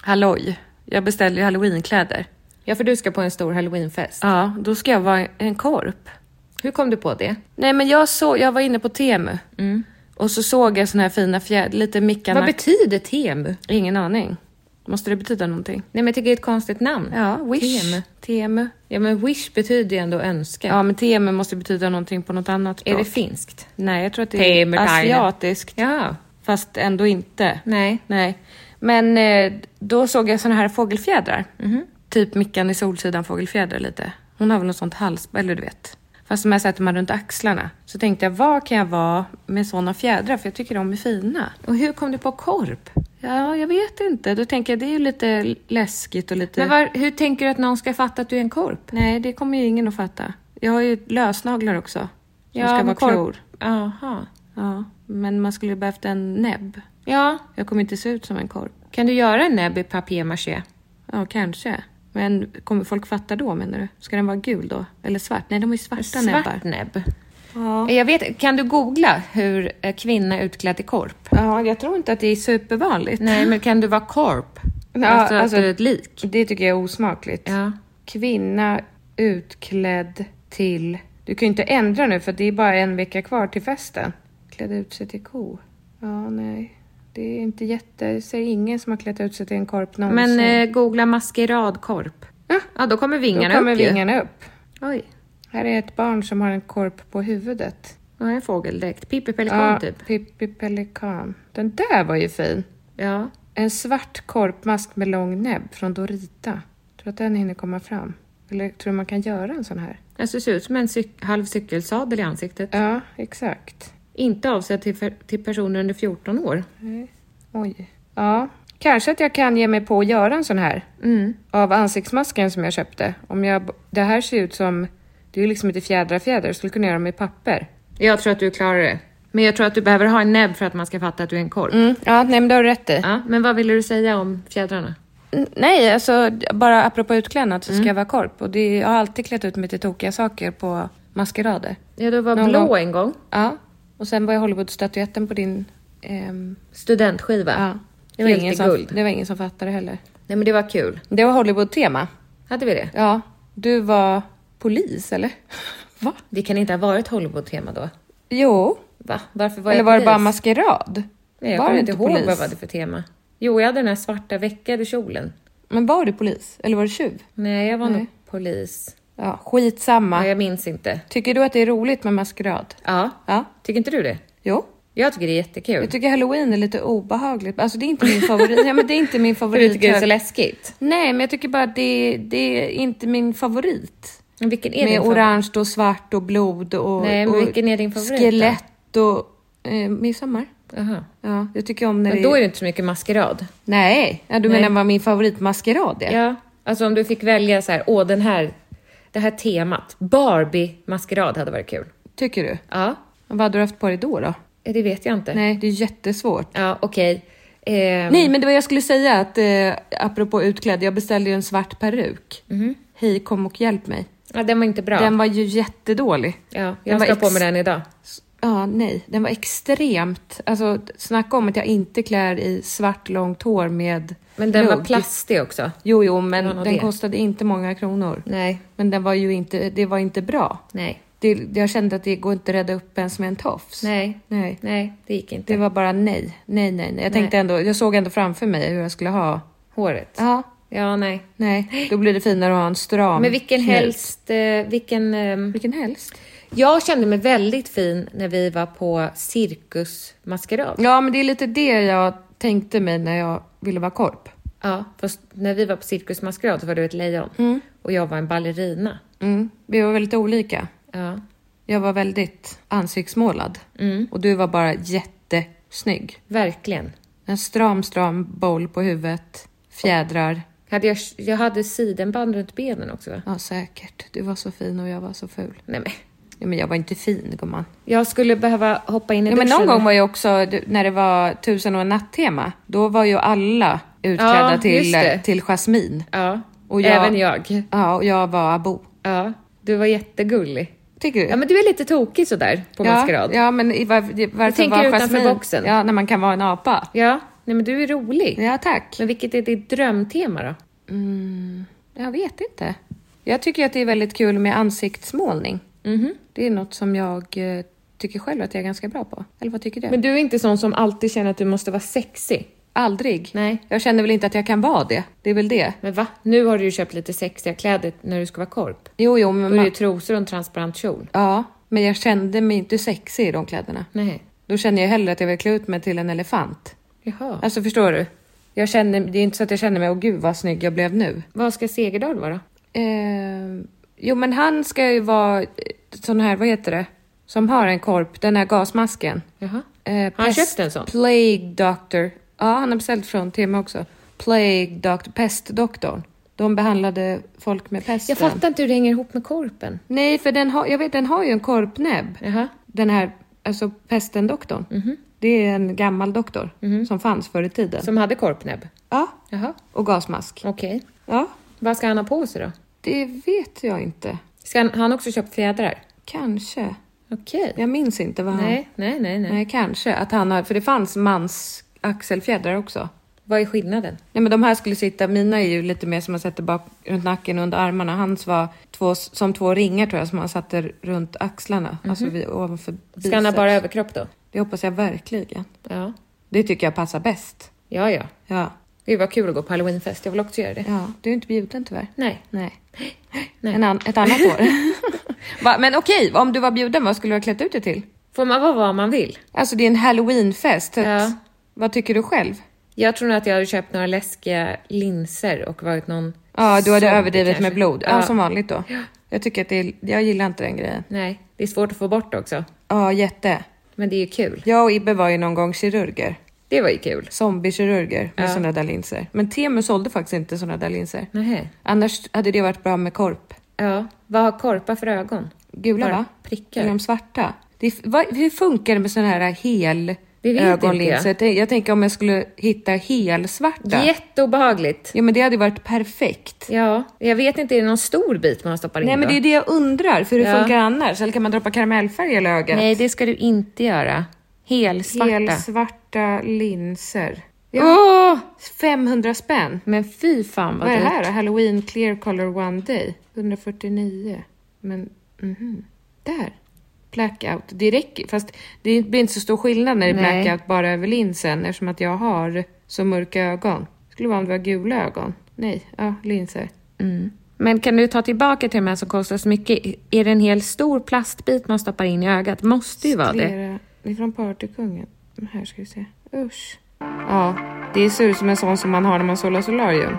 [SPEAKER 2] Halloj. Jag beställde ju halloweenkläder.
[SPEAKER 1] Ja, för du ska på en stor halloweenfest.
[SPEAKER 2] Ja, då ska jag vara en korp.
[SPEAKER 1] Hur kom du på det? Mm.
[SPEAKER 2] Nej, men jag såg, jag var inne på Temu. Och så såg jag såna här fina fjädrar, lite mickarna.
[SPEAKER 1] Vad betyder tem?
[SPEAKER 2] Ingen aning. Måste det betyda någonting?
[SPEAKER 1] Nej men jag tycker det är ett konstigt namn.
[SPEAKER 2] Ja, wish.
[SPEAKER 1] Tem.
[SPEAKER 2] Temu.
[SPEAKER 1] Ja men wish betyder ju ändå önska.
[SPEAKER 2] Ja, men temu måste betyda någonting på något annat
[SPEAKER 1] är
[SPEAKER 2] språk.
[SPEAKER 1] det finskt?
[SPEAKER 2] Nej, jag tror att det
[SPEAKER 1] Temu,
[SPEAKER 2] är asiatiskt.
[SPEAKER 1] Ja.
[SPEAKER 2] Fast ändå inte.
[SPEAKER 1] Nej.
[SPEAKER 2] Nej. Men eh, då såg jag såna här fågelfjädrar.
[SPEAKER 1] Mhm.
[SPEAKER 2] Typ Mickan i Solsidan fågelfjädrar lite. Hon har väl något sånt hals... Eller du vet. Fast de här sätter man runt axlarna. Så tänkte jag, vad kan jag vara med såna fjädrar? För jag tycker de är fina.
[SPEAKER 1] Och hur kom du på korp?
[SPEAKER 2] Ja, jag vet inte. Då tänker jag, det är ju lite läskigt och lite...
[SPEAKER 1] Men var, hur tänker du att någon ska fatta att du är en korp?
[SPEAKER 2] Nej, det kommer ju ingen att fatta. Jag har ju lösnaglar också. Som ska
[SPEAKER 1] men
[SPEAKER 2] vara
[SPEAKER 1] korp-
[SPEAKER 2] klor.
[SPEAKER 1] Aha.
[SPEAKER 2] Ja, men man skulle ju behövt en näbb.
[SPEAKER 1] Ja.
[SPEAKER 2] Jag kommer inte se ut som en korp.
[SPEAKER 1] Kan du göra en näbb i papier-maché?
[SPEAKER 2] Ja, kanske. Men kommer folk fatta då menar du? Ska den vara gul då? Eller svart? Nej, de är ju svarta
[SPEAKER 1] Svart
[SPEAKER 2] näbbar.
[SPEAKER 1] näbb.
[SPEAKER 2] Ja.
[SPEAKER 1] Jag vet, kan du googla hur eh, kvinna utklädd till korp?
[SPEAKER 2] ja, jag tror inte att det är supervanligt.
[SPEAKER 1] Nej, men kan du vara korp?
[SPEAKER 2] Ja,
[SPEAKER 1] alltså,
[SPEAKER 2] alltså-
[SPEAKER 1] att du är ett lik?
[SPEAKER 2] Det tycker jag är osmakligt.
[SPEAKER 1] Ja.
[SPEAKER 2] Kvinna utklädd till... Du kan ju inte ändra nu för det är bara en vecka kvar till festen. Klädd ut sig till ko. Ja, nej. Det är inte jätte... Jag ser ingen som har klätt ut sig till en korp någonsin.
[SPEAKER 1] Men eh, googla maskeradkorp.
[SPEAKER 2] Mm. Ja.
[SPEAKER 1] Ja, då kommer
[SPEAKER 2] Då
[SPEAKER 1] vingarna
[SPEAKER 2] kommer
[SPEAKER 1] upp ju.
[SPEAKER 2] vingarna upp.
[SPEAKER 1] Oj.
[SPEAKER 2] Här är ett barn som har en korp på huvudet.
[SPEAKER 1] Ja, en fågeldräkt. Pippi Pelikan typ.
[SPEAKER 2] Pippi Pelikan. Den där var ju fin.
[SPEAKER 1] Ja.
[SPEAKER 2] En svart korpmask med lång näbb från Dorita. Tror att den hinner komma fram? Eller tror du man kan göra en sån här?
[SPEAKER 1] Alltså, det ser ut som en cyk- halv cykelsadel i ansiktet.
[SPEAKER 2] Ja, exakt.
[SPEAKER 1] Inte avsedd till, för- till personer under 14 år.
[SPEAKER 2] Oj. Ja, kanske att jag kan ge mig på att göra en sån här.
[SPEAKER 1] Mm.
[SPEAKER 2] Av ansiktsmasken som jag köpte. Om jag, b- det här ser ut som... Det är ju liksom inte fjädrar fjädrar. Jag skulle kunna göra dem i papper.
[SPEAKER 1] Jag tror att du klarar det. Men jag tror att du behöver ha en näbb för att man ska fatta att du är en korp.
[SPEAKER 2] Mm. Ja, nej men det har du rätt i.
[SPEAKER 1] Ja, men vad ville du säga om fjädrarna?
[SPEAKER 2] N- Nej, alltså d- bara apropå utklädnad
[SPEAKER 1] Mm.
[SPEAKER 2] så ska jag vara korp. Och det, jag har alltid klätt ut mig till tokiga saker på maskerader.
[SPEAKER 1] Ja, du var
[SPEAKER 2] Någon
[SPEAKER 1] blå
[SPEAKER 2] gång.
[SPEAKER 1] en gång.
[SPEAKER 2] Ja, och sen var jag Hollywoodstatyetten på din... ehm,
[SPEAKER 1] Studentskiva.
[SPEAKER 2] ja.
[SPEAKER 1] Det var
[SPEAKER 2] Helt
[SPEAKER 1] ingen
[SPEAKER 2] i
[SPEAKER 1] som-
[SPEAKER 2] guld. det var ingen som fattade heller.
[SPEAKER 1] Nej, men det var kul.
[SPEAKER 2] Det var Hollywood-tema.
[SPEAKER 1] Hade vi det?
[SPEAKER 2] Ja, du var polis eller? (laughs) Va?
[SPEAKER 1] Det kan inte ha varit Hollywood-tema då?
[SPEAKER 2] Jo.
[SPEAKER 1] Va? Varför var
[SPEAKER 2] eller
[SPEAKER 1] jag
[SPEAKER 2] var det
[SPEAKER 1] polis?
[SPEAKER 2] bara maskerad?
[SPEAKER 1] Nej, jag
[SPEAKER 2] var
[SPEAKER 1] kommer
[SPEAKER 2] du
[SPEAKER 1] inte ihåg vad jag hade för tema. Jo, jag hade den här svarta veckade kjolen.
[SPEAKER 2] Men var du polis? Eller var du tjuv?
[SPEAKER 1] Nej, jag var nog polis.
[SPEAKER 2] Ja, skitsamma.
[SPEAKER 1] Nej, jag minns inte.
[SPEAKER 2] Tycker du att det är roligt med maskerad?
[SPEAKER 1] Ja.
[SPEAKER 2] Ja.
[SPEAKER 1] Tycker inte du det?
[SPEAKER 2] Jo.
[SPEAKER 1] Jag tycker det är jättekul.
[SPEAKER 2] Jag tycker halloween är lite obehagligt. Alltså det är inte min favorit. ja, men det är
[SPEAKER 1] (laughs)
[SPEAKER 2] inte min
[SPEAKER 1] För du
[SPEAKER 2] favorit.
[SPEAKER 1] tycker det är så läskigt?
[SPEAKER 2] Nej, men jag tycker bara att det, det är inte min favorit.
[SPEAKER 1] Men vilken är
[SPEAKER 2] Med
[SPEAKER 1] din favorit?
[SPEAKER 2] orange och svart och blod och,
[SPEAKER 1] Nej, men
[SPEAKER 2] och
[SPEAKER 1] vilken är din favorit då?
[SPEAKER 2] skelett och eh, midsommar.
[SPEAKER 1] Jaha.
[SPEAKER 2] Ja, jag tycker om när
[SPEAKER 1] Men
[SPEAKER 2] det
[SPEAKER 1] då är det inte så mycket maskerad.
[SPEAKER 2] Nej, ja, du menar vad min favoritmaskerad är?
[SPEAKER 1] Ja. Alltså om du fick välja så här, åh den här, det här temat. Barbie-maskerad hade varit kul.
[SPEAKER 2] Tycker du?
[SPEAKER 1] Ja.
[SPEAKER 2] Vad hade du haft på dig då? då?
[SPEAKER 1] Eh, Det vet jag inte.
[SPEAKER 2] Nej, det är jättesvårt.
[SPEAKER 1] Ja, okej. Ehm,
[SPEAKER 2] Nej, men det var jag skulle säga att eh, apropå utklädd, jag beställde ju en svart peruk.
[SPEAKER 1] Mhm.
[SPEAKER 2] Hej, kom och hjälp mig.
[SPEAKER 1] ja, den var inte bra.
[SPEAKER 2] Den var ju jättedålig.
[SPEAKER 1] ja,
[SPEAKER 2] den
[SPEAKER 1] jag
[SPEAKER 2] var
[SPEAKER 1] ska på
[SPEAKER 2] ex-
[SPEAKER 1] mig den idag.
[SPEAKER 2] Ja, nej. Den var extremt... Alltså, snacka om att jag inte klär i svart långt hår med
[SPEAKER 1] Men den var
[SPEAKER 2] lugg.
[SPEAKER 1] plastig också.
[SPEAKER 2] Jo, jo, men
[SPEAKER 1] Det var nog
[SPEAKER 2] den
[SPEAKER 1] det.
[SPEAKER 2] kostade inte många kronor.
[SPEAKER 1] Nej.
[SPEAKER 2] Men den var ju inte... Det var inte bra.
[SPEAKER 1] Nej.
[SPEAKER 2] Det, jag kände att det går inte att rädda upp ens med en tofs.
[SPEAKER 1] Nej.
[SPEAKER 2] Nej.
[SPEAKER 1] Nej, det gick inte.
[SPEAKER 2] Det var bara nej, nej, nej, nej. Jag tänkte ändå... Jag såg ändå framför mig hur jag skulle ha...
[SPEAKER 1] Håret.
[SPEAKER 2] Ja,
[SPEAKER 1] Ja, nej.
[SPEAKER 2] nej. Då blir det finare att ha en stram
[SPEAKER 1] Men vilken
[SPEAKER 2] knut.
[SPEAKER 1] helst, eh, vilken... ehm,
[SPEAKER 2] Vilken helst?
[SPEAKER 1] jag kände mig väldigt fin när vi var på cirkusmaskerad.
[SPEAKER 2] Ja, men det är lite det jag tänkte mig när jag ville vara korp.
[SPEAKER 1] Ja, fast när vi var på cirkusmaskerad så var du ett lejon och jag var en ballerina.
[SPEAKER 2] Mm. Vi var väldigt olika.
[SPEAKER 1] Ja. Mm.
[SPEAKER 2] Jag var väldigt ansiktsmålad och du var bara jättesnygg.
[SPEAKER 1] Verkligen.
[SPEAKER 2] En stram, stram boll på huvudet, fjädrar.
[SPEAKER 1] Hade jag, jag hade sidenband runt benen också va?
[SPEAKER 2] Ja, säkert. Du var så fin och jag var så ful.
[SPEAKER 1] Nej men,
[SPEAKER 2] Ja, men jag var inte fin, gumman.
[SPEAKER 1] jag skulle behöva hoppa in i
[SPEAKER 2] Ja, men
[SPEAKER 1] duschen.
[SPEAKER 2] någon gång var jag också, du- när det var tusen och en natt-tema, då var ju alla utklädda
[SPEAKER 1] Ja, just
[SPEAKER 2] till,
[SPEAKER 1] det.
[SPEAKER 2] till Jasmine.
[SPEAKER 1] Ja,
[SPEAKER 2] Och jag-
[SPEAKER 1] även jag.
[SPEAKER 2] Ja, och jag var Abo.
[SPEAKER 1] Ja, du var jättegullig.
[SPEAKER 2] Tycker du?
[SPEAKER 1] Ja, men du är lite tokig sådär på maskerad.
[SPEAKER 2] Ja, men i var, i- varför
[SPEAKER 1] tänker
[SPEAKER 2] var
[SPEAKER 1] utanför
[SPEAKER 2] Jasmine-
[SPEAKER 1] boxen.
[SPEAKER 2] Ja, när man kan vara en apa.
[SPEAKER 1] Ja, nej men du är rolig.
[SPEAKER 2] Ja, tack.
[SPEAKER 1] Men vilket är ditt drömtema då?
[SPEAKER 2] Jag vet inte.
[SPEAKER 1] Mhm.
[SPEAKER 2] Jag tycker att det är väldigt kul med ansiktsmålning. Det är något som jag eh, tycker själv att jag är ganska bra på. Eller vad tycker du?
[SPEAKER 1] Men du är inte sån som alltid känner att du måste vara sexig. Aldrig.
[SPEAKER 2] Nej, jag känner väl inte att jag kan vara det. Det är väl det.
[SPEAKER 1] Men va? Nu har du ju köpt lite sexiga kläder när du ska vara korp.
[SPEAKER 2] Jo, jo, men...
[SPEAKER 1] Då är det ju
[SPEAKER 2] Man,
[SPEAKER 1] trosor och en transparent kjol.
[SPEAKER 2] ja, men jag kände mig inte sexig i de kläderna.
[SPEAKER 1] Nej.
[SPEAKER 2] Då känner jag hellre att jag vill klä ut mig till en elefant.
[SPEAKER 1] Jaha.
[SPEAKER 2] Alltså förstår du? Jag känner, det är inte så att jag känner mig, åh gud vad snygg jag blev nu.
[SPEAKER 1] Vad ska Segerdahl vara?
[SPEAKER 2] Eh, jo men han ska ju vara eh, sån här, vad heter det? Som har en korp, den här gasmasken.
[SPEAKER 1] Jaha.
[SPEAKER 2] Eh,
[SPEAKER 1] han
[SPEAKER 2] pest-
[SPEAKER 1] köpt en sån?
[SPEAKER 2] Plague Doctor. Ja, han har beställt från Tema också. Plague Doctor, pestdoktorn. De behandlade folk med pesten.
[SPEAKER 1] Jag fattar inte hur det hänger ihop med korpen.
[SPEAKER 2] Nej, för den har, jag vet, den har ju en korpnäbb.
[SPEAKER 1] Jaha. Mhm.
[SPEAKER 2] Den här, alltså pestendoktorn. Det är en gammal doktor som fanns förr i tiden.
[SPEAKER 1] Som hade korpnäbb?
[SPEAKER 2] Ja,
[SPEAKER 1] Jaha.
[SPEAKER 2] och gasmask.
[SPEAKER 1] Okej.
[SPEAKER 2] Ja,
[SPEAKER 1] Vad ska han ha på sig då?
[SPEAKER 2] det vet jag inte.
[SPEAKER 1] Ska han, har han också köpt fjädrar?
[SPEAKER 2] Kanske.
[SPEAKER 1] Okej.
[SPEAKER 2] Jag minns inte vad han...
[SPEAKER 1] Nej, nej, nej, nej,
[SPEAKER 2] Nej, kanske. Att han har, för det fanns mans axelfjädrar också.
[SPEAKER 1] Vad är skillnaden?
[SPEAKER 2] Nej, men de här skulle sitta, mina är ju lite mer som man sätter bak runt nacken och under armarna. Hans var två, som två ringar tror jag som han satte runt axlarna, alltså vid, ovanför biceps.
[SPEAKER 1] Mhm. Ska han ha bara överkropp då?
[SPEAKER 2] Det hoppas jag verkligen.
[SPEAKER 1] Ja.
[SPEAKER 2] Det tycker jag passar bäst.
[SPEAKER 1] Ja, ja.
[SPEAKER 2] Ja,
[SPEAKER 1] Gud vad kul att gå på halloweenfest. Jag vill också göra det.
[SPEAKER 2] ja. du är inte bjuden tyvärr.
[SPEAKER 1] Nej.
[SPEAKER 2] Nej.
[SPEAKER 1] Nej.
[SPEAKER 2] En an-
[SPEAKER 1] (laughs)
[SPEAKER 2] ett annat år. Va, men okej, om du var bjuden, vad skulle du ha klätt ut dig till?
[SPEAKER 1] Får man vara vad man vill?
[SPEAKER 2] Alltså det är en halloweenfest. så att-
[SPEAKER 1] Ja.
[SPEAKER 2] Vad tycker du själv?
[SPEAKER 1] Jag tror nog att jag hade köpt några läskiga linser och varit någon...
[SPEAKER 2] Ja, du hade
[SPEAKER 1] zombie
[SPEAKER 2] överdrivit
[SPEAKER 1] kanske.
[SPEAKER 2] med blod. Ja.
[SPEAKER 1] Ja.
[SPEAKER 2] som vanligt då. Jag tycker att det är, jag gillar inte den grejen.
[SPEAKER 1] Nej, det är svårt att få bort också.
[SPEAKER 2] Ja, jätte.
[SPEAKER 1] Men det är ju kul.
[SPEAKER 2] Jag och Ibbe var ju någon gång kirurger.
[SPEAKER 1] Det var ju kul.
[SPEAKER 2] Zombiekirurger med
[SPEAKER 1] Ja.
[SPEAKER 2] sådana där linser. Men Temu sålde faktiskt inte sådana där linser.
[SPEAKER 1] Nej.
[SPEAKER 2] Annars hade det varit bra med korp.
[SPEAKER 1] Ja. Vad har korpar för ögon?
[SPEAKER 2] Gula
[SPEAKER 1] Bara
[SPEAKER 2] va?
[SPEAKER 1] prickar.
[SPEAKER 2] Eller de svarta. Det, är- vad, hur funkar det med sådana här hel
[SPEAKER 1] Det vet inte
[SPEAKER 2] ögonlinser?
[SPEAKER 1] jag.
[SPEAKER 2] Jag. tänk- jag tänker om jag skulle hitta helsvarta.
[SPEAKER 1] Jätteobehagligt.
[SPEAKER 2] Ja men det hade varit perfekt.
[SPEAKER 1] Ja, jag vet inte, är det någon stor bit man stoppar in
[SPEAKER 2] Nej men
[SPEAKER 1] då?
[SPEAKER 2] det är det jag undrar, för hur
[SPEAKER 1] Ja.
[SPEAKER 2] funkar det annars? Eller kan man droppa karamellfärg i hela ögat?
[SPEAKER 1] Nej, det ska du inte göra. Helsvarta.
[SPEAKER 2] Helsvarta linser. Ja.
[SPEAKER 1] Åh!
[SPEAKER 2] 500 spänn.
[SPEAKER 1] Men fy fan vad,
[SPEAKER 2] Vad är det här
[SPEAKER 1] dyrt.
[SPEAKER 2] då? Halloween clear color one day. 149. Men, mhm. Där. Blackout. Det räcker. Fast det blir inte så stor skillnad när det är
[SPEAKER 1] Nej.
[SPEAKER 2] blackout bara över linsen eftersom att jag har så mörka ögon. Skulle vara om det var gula ögon. Nej, ja, linser.
[SPEAKER 1] Mm. Men kan du ta tillbaka till de här som kostar så mycket? Är det en hel stor plastbit man stoppar in i ögat? Måste ju vara det.
[SPEAKER 2] Flera. Det är från Partykungen. Här ska vi se. Usch. Ja, det ser ut som en sån som man har när man solar solarium.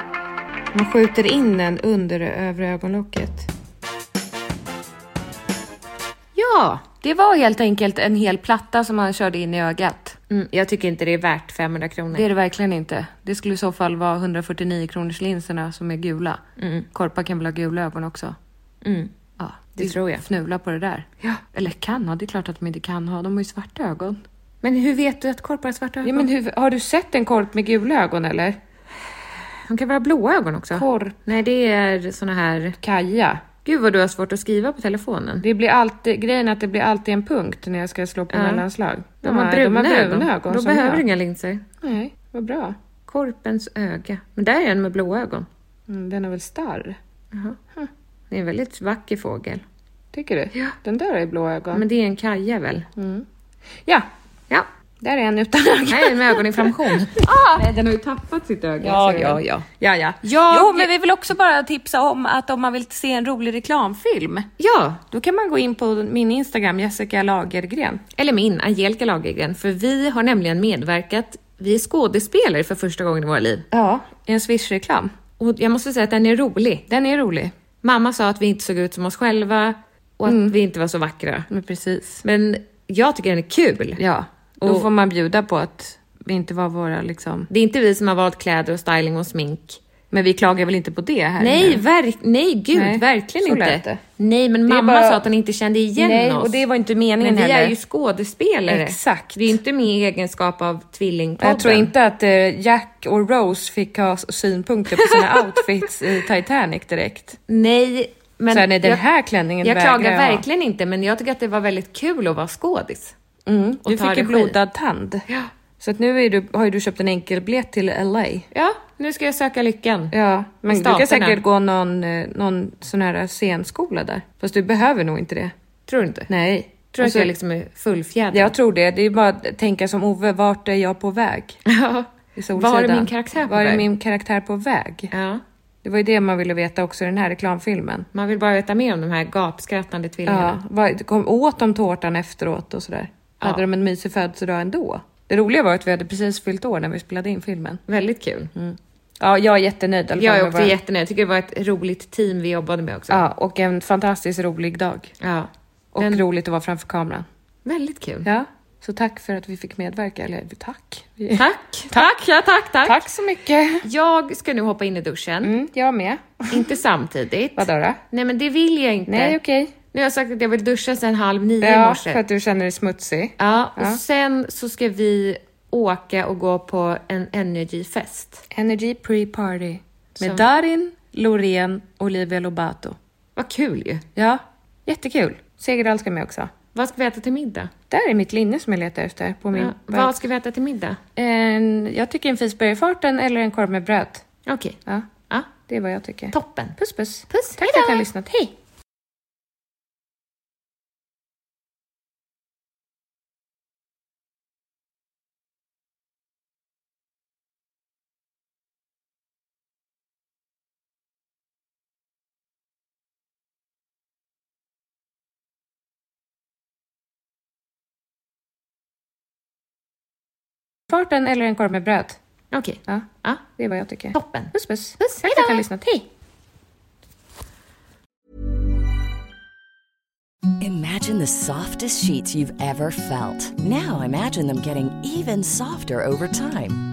[SPEAKER 2] Man skjuter in den under det övre ögonlocket.
[SPEAKER 1] Ja!
[SPEAKER 2] Det var helt enkelt en hel platta som man körde in i ögat.
[SPEAKER 1] Mm, jag tycker inte det är värt 500 kronor.
[SPEAKER 2] Det är det verkligen inte. Det skulle i så fall vara 149 kronors linserna som är gula. Korpar kan väl ha gula ögon också?
[SPEAKER 1] Mm.
[SPEAKER 2] Ja,
[SPEAKER 1] Det tror jag.
[SPEAKER 2] Fnula på det där. Ja. Eller kan ha, det är klart att de inte kan ha. De har ju svarta ögon.
[SPEAKER 1] Men hur vet du att korpar har svarta ögon?
[SPEAKER 2] Ja, men hur, har du sett en korp med gula ögon eller?
[SPEAKER 1] De kan vara blåa ögon också.
[SPEAKER 2] Korp.
[SPEAKER 1] Nej, det är såna här...
[SPEAKER 2] Kaja.
[SPEAKER 1] Gud vad du har svårt att skriva på telefonen.
[SPEAKER 2] Det blir alltid, grejen är att det blir alltid en punkt när jag ska slå på
[SPEAKER 1] Ja.
[SPEAKER 2] mellanslag.
[SPEAKER 1] De har
[SPEAKER 2] Nej,
[SPEAKER 1] bruna,
[SPEAKER 2] de har
[SPEAKER 1] ögon.
[SPEAKER 2] bruna ögon.
[SPEAKER 1] Då
[SPEAKER 2] som
[SPEAKER 1] behöver
[SPEAKER 2] jag.
[SPEAKER 1] du inga linser.
[SPEAKER 2] Nej, vad bra.
[SPEAKER 1] Korpens öga. Men där är en med blåa ögon.
[SPEAKER 2] Mm, den är väl starr?
[SPEAKER 1] Det är en väldigt vacker fågel.
[SPEAKER 2] Tycker du? Ja. Den där är blå ögon.
[SPEAKER 1] Men det är en kaja väl?
[SPEAKER 2] Ja,
[SPEAKER 1] Ja.
[SPEAKER 2] där är en utan ögon.
[SPEAKER 1] Nej, med
[SPEAKER 2] (laughs)
[SPEAKER 1] ögoninflammation.
[SPEAKER 2] Nej, den har ju tappat sitt öga.
[SPEAKER 1] Ja,
[SPEAKER 2] ser
[SPEAKER 1] ja,
[SPEAKER 2] du.
[SPEAKER 1] ja.
[SPEAKER 2] ja, ja.
[SPEAKER 1] Ja,
[SPEAKER 2] jo,
[SPEAKER 1] det-
[SPEAKER 2] men vi vill också bara tipsa om att om man vill se en rolig reklamfilm,
[SPEAKER 1] ja,
[SPEAKER 2] då kan man gå in på min Instagram, Jessica Lagergren.
[SPEAKER 1] eller min, Angelica Lagergren. För vi har nämligen medverkat, vi är skådespelare för första gången i våra liv.
[SPEAKER 2] Ja, en Swish-reklam.
[SPEAKER 1] Och jag måste säga att den är rolig.
[SPEAKER 2] Den är rolig. Mm.
[SPEAKER 1] Mamma sa att vi inte såg ut som oss själva och att vi inte var så vackra.
[SPEAKER 2] Men precis.
[SPEAKER 1] Men jag tycker den är kul.
[SPEAKER 2] Ja, då
[SPEAKER 1] Och-
[SPEAKER 2] får man bjuda på att vi inte var våra liksom...
[SPEAKER 1] Det är inte vi som har valt kläder och styling och smink.
[SPEAKER 2] Men vi klagar väl inte på det här
[SPEAKER 1] Nej,
[SPEAKER 2] nu?
[SPEAKER 1] verk, nej gud,
[SPEAKER 2] Nej,
[SPEAKER 1] verkligen
[SPEAKER 2] så
[SPEAKER 1] inte.
[SPEAKER 2] lät det.
[SPEAKER 1] Nej, men
[SPEAKER 2] Det är
[SPEAKER 1] mamma
[SPEAKER 2] bara-
[SPEAKER 1] sa att hon inte kände igen
[SPEAKER 2] Nej,
[SPEAKER 1] oss.
[SPEAKER 2] och det var inte meningen
[SPEAKER 1] Men vi
[SPEAKER 2] heller.
[SPEAKER 1] är ju skådespelare.
[SPEAKER 2] Exakt.
[SPEAKER 1] Vi är inte med i egenskap av
[SPEAKER 2] Och
[SPEAKER 1] tvillingpodden.
[SPEAKER 2] Jag tror inte att eh, Jack och Rose fick ha s- synpunkter på
[SPEAKER 1] (laughs)
[SPEAKER 2] sina outfits i Titanic direkt.
[SPEAKER 1] Nej, men...
[SPEAKER 2] Så här, nej, den
[SPEAKER 1] jag-
[SPEAKER 2] här klänningen
[SPEAKER 1] Jag
[SPEAKER 2] vägrar
[SPEAKER 1] klagar
[SPEAKER 2] jag ha.
[SPEAKER 1] verkligen inte, men jag tycker att det var väldigt kul att vara skådis.
[SPEAKER 2] Mm,
[SPEAKER 1] och
[SPEAKER 2] du
[SPEAKER 1] ta
[SPEAKER 2] fick ju
[SPEAKER 1] regi.
[SPEAKER 2] blodad tand.
[SPEAKER 1] Ja.
[SPEAKER 2] Så att nu är du, har ju du köpt en enkelbiljett till LA.
[SPEAKER 1] Ja, nu ska jag söka lyckan.
[SPEAKER 2] Ja, men du
[SPEAKER 1] Staterna.
[SPEAKER 2] kan säkert gå någon, eh, någon sån här scenskola där. Fast du behöver nog inte det.
[SPEAKER 1] Tror du inte?
[SPEAKER 2] Nej,
[SPEAKER 1] Tror du
[SPEAKER 2] Alltså-
[SPEAKER 1] att jag liksom är fullfjädrad?
[SPEAKER 2] Jag tror det. Det är bara att tänka som Ove, vart är jag på väg?
[SPEAKER 1] (laughs) Ja.
[SPEAKER 2] I Solsidan.
[SPEAKER 1] Var är min karaktär på
[SPEAKER 2] Var är
[SPEAKER 1] väg?
[SPEAKER 2] min karaktär på väg?
[SPEAKER 1] Ja.
[SPEAKER 2] Det var ju det man ville veta också i den här reklamfilmen.
[SPEAKER 1] Man vill bara veta mer om de här gapskrattande tvillingarna.
[SPEAKER 2] Ja, vad- kom, åt de tårtan efteråt och sådär? Hade de en mysig födelsedag ändå? Det roliga var att vi hade precis fyllt år när vi spelade in filmen. Mm.
[SPEAKER 1] Väldigt kul.
[SPEAKER 2] Ja, jag är jättenöjd i alla
[SPEAKER 1] Jag
[SPEAKER 2] fall
[SPEAKER 1] är
[SPEAKER 2] med
[SPEAKER 1] också
[SPEAKER 2] våra-
[SPEAKER 1] jättenöjd. Jag tycker det var ett roligt team vi jobbade med också.
[SPEAKER 2] Ja, och en fantastiskt rolig dag.
[SPEAKER 1] Ja.
[SPEAKER 2] Och
[SPEAKER 1] En-
[SPEAKER 2] roligt att vara framför kameran.
[SPEAKER 1] Väldigt kul.
[SPEAKER 2] Ja, så tack för att vi fick medverka. Eller tack. Vi- (laughs)
[SPEAKER 1] Tack, tack, ja, tack, tack.
[SPEAKER 2] Tack så mycket.
[SPEAKER 1] Jag ska nu hoppa in i duschen.
[SPEAKER 2] Mm, jag med.
[SPEAKER 1] Inte samtidigt.
[SPEAKER 2] Vadå då?
[SPEAKER 1] Nej men det vill jag inte.
[SPEAKER 2] Nej, okej.
[SPEAKER 1] Nu har jag sagt att jag vill duscha sen halv nio i
[SPEAKER 2] Ja,
[SPEAKER 1] morse.
[SPEAKER 2] för att du känner dig smutsig.
[SPEAKER 1] Ja, och
[SPEAKER 2] Ja.
[SPEAKER 1] sen så ska vi åka och gå på en E energifest.
[SPEAKER 2] Energy pre-party. Med
[SPEAKER 1] Så.
[SPEAKER 2] Darin, Loreen och Olivia Lobato.
[SPEAKER 1] Vad kul ju.
[SPEAKER 2] Ja, jättekul. Segerdahl ska med också.
[SPEAKER 1] Vad ska vi äta till middag?
[SPEAKER 2] Där är mitt linne som jag letar efter på min...
[SPEAKER 1] Ja, vad ska vi äta till middag?
[SPEAKER 2] en, jag tycker en fisbergfarten eller en korv med bröd.
[SPEAKER 1] Okej.
[SPEAKER 2] Ja,
[SPEAKER 1] Ja,
[SPEAKER 2] det är vad jag tycker.
[SPEAKER 1] toppen.
[SPEAKER 2] Puss puss.
[SPEAKER 1] Puss,
[SPEAKER 2] Tack
[SPEAKER 1] hejdå.
[SPEAKER 2] för att ni har lyssnat. Hej! Farten eller en korv med bröd.
[SPEAKER 1] Okej.
[SPEAKER 2] Ja,
[SPEAKER 1] Ja,
[SPEAKER 2] det är vad jag tycker.
[SPEAKER 1] toppen.
[SPEAKER 2] Puss puss.
[SPEAKER 1] Puss,
[SPEAKER 2] Tack för att ni har
[SPEAKER 1] hejdå.
[SPEAKER 2] lyssnat. Hej!
[SPEAKER 6] Imagine the softest sheets you've ever felt. Now imagine them getting even softer over time.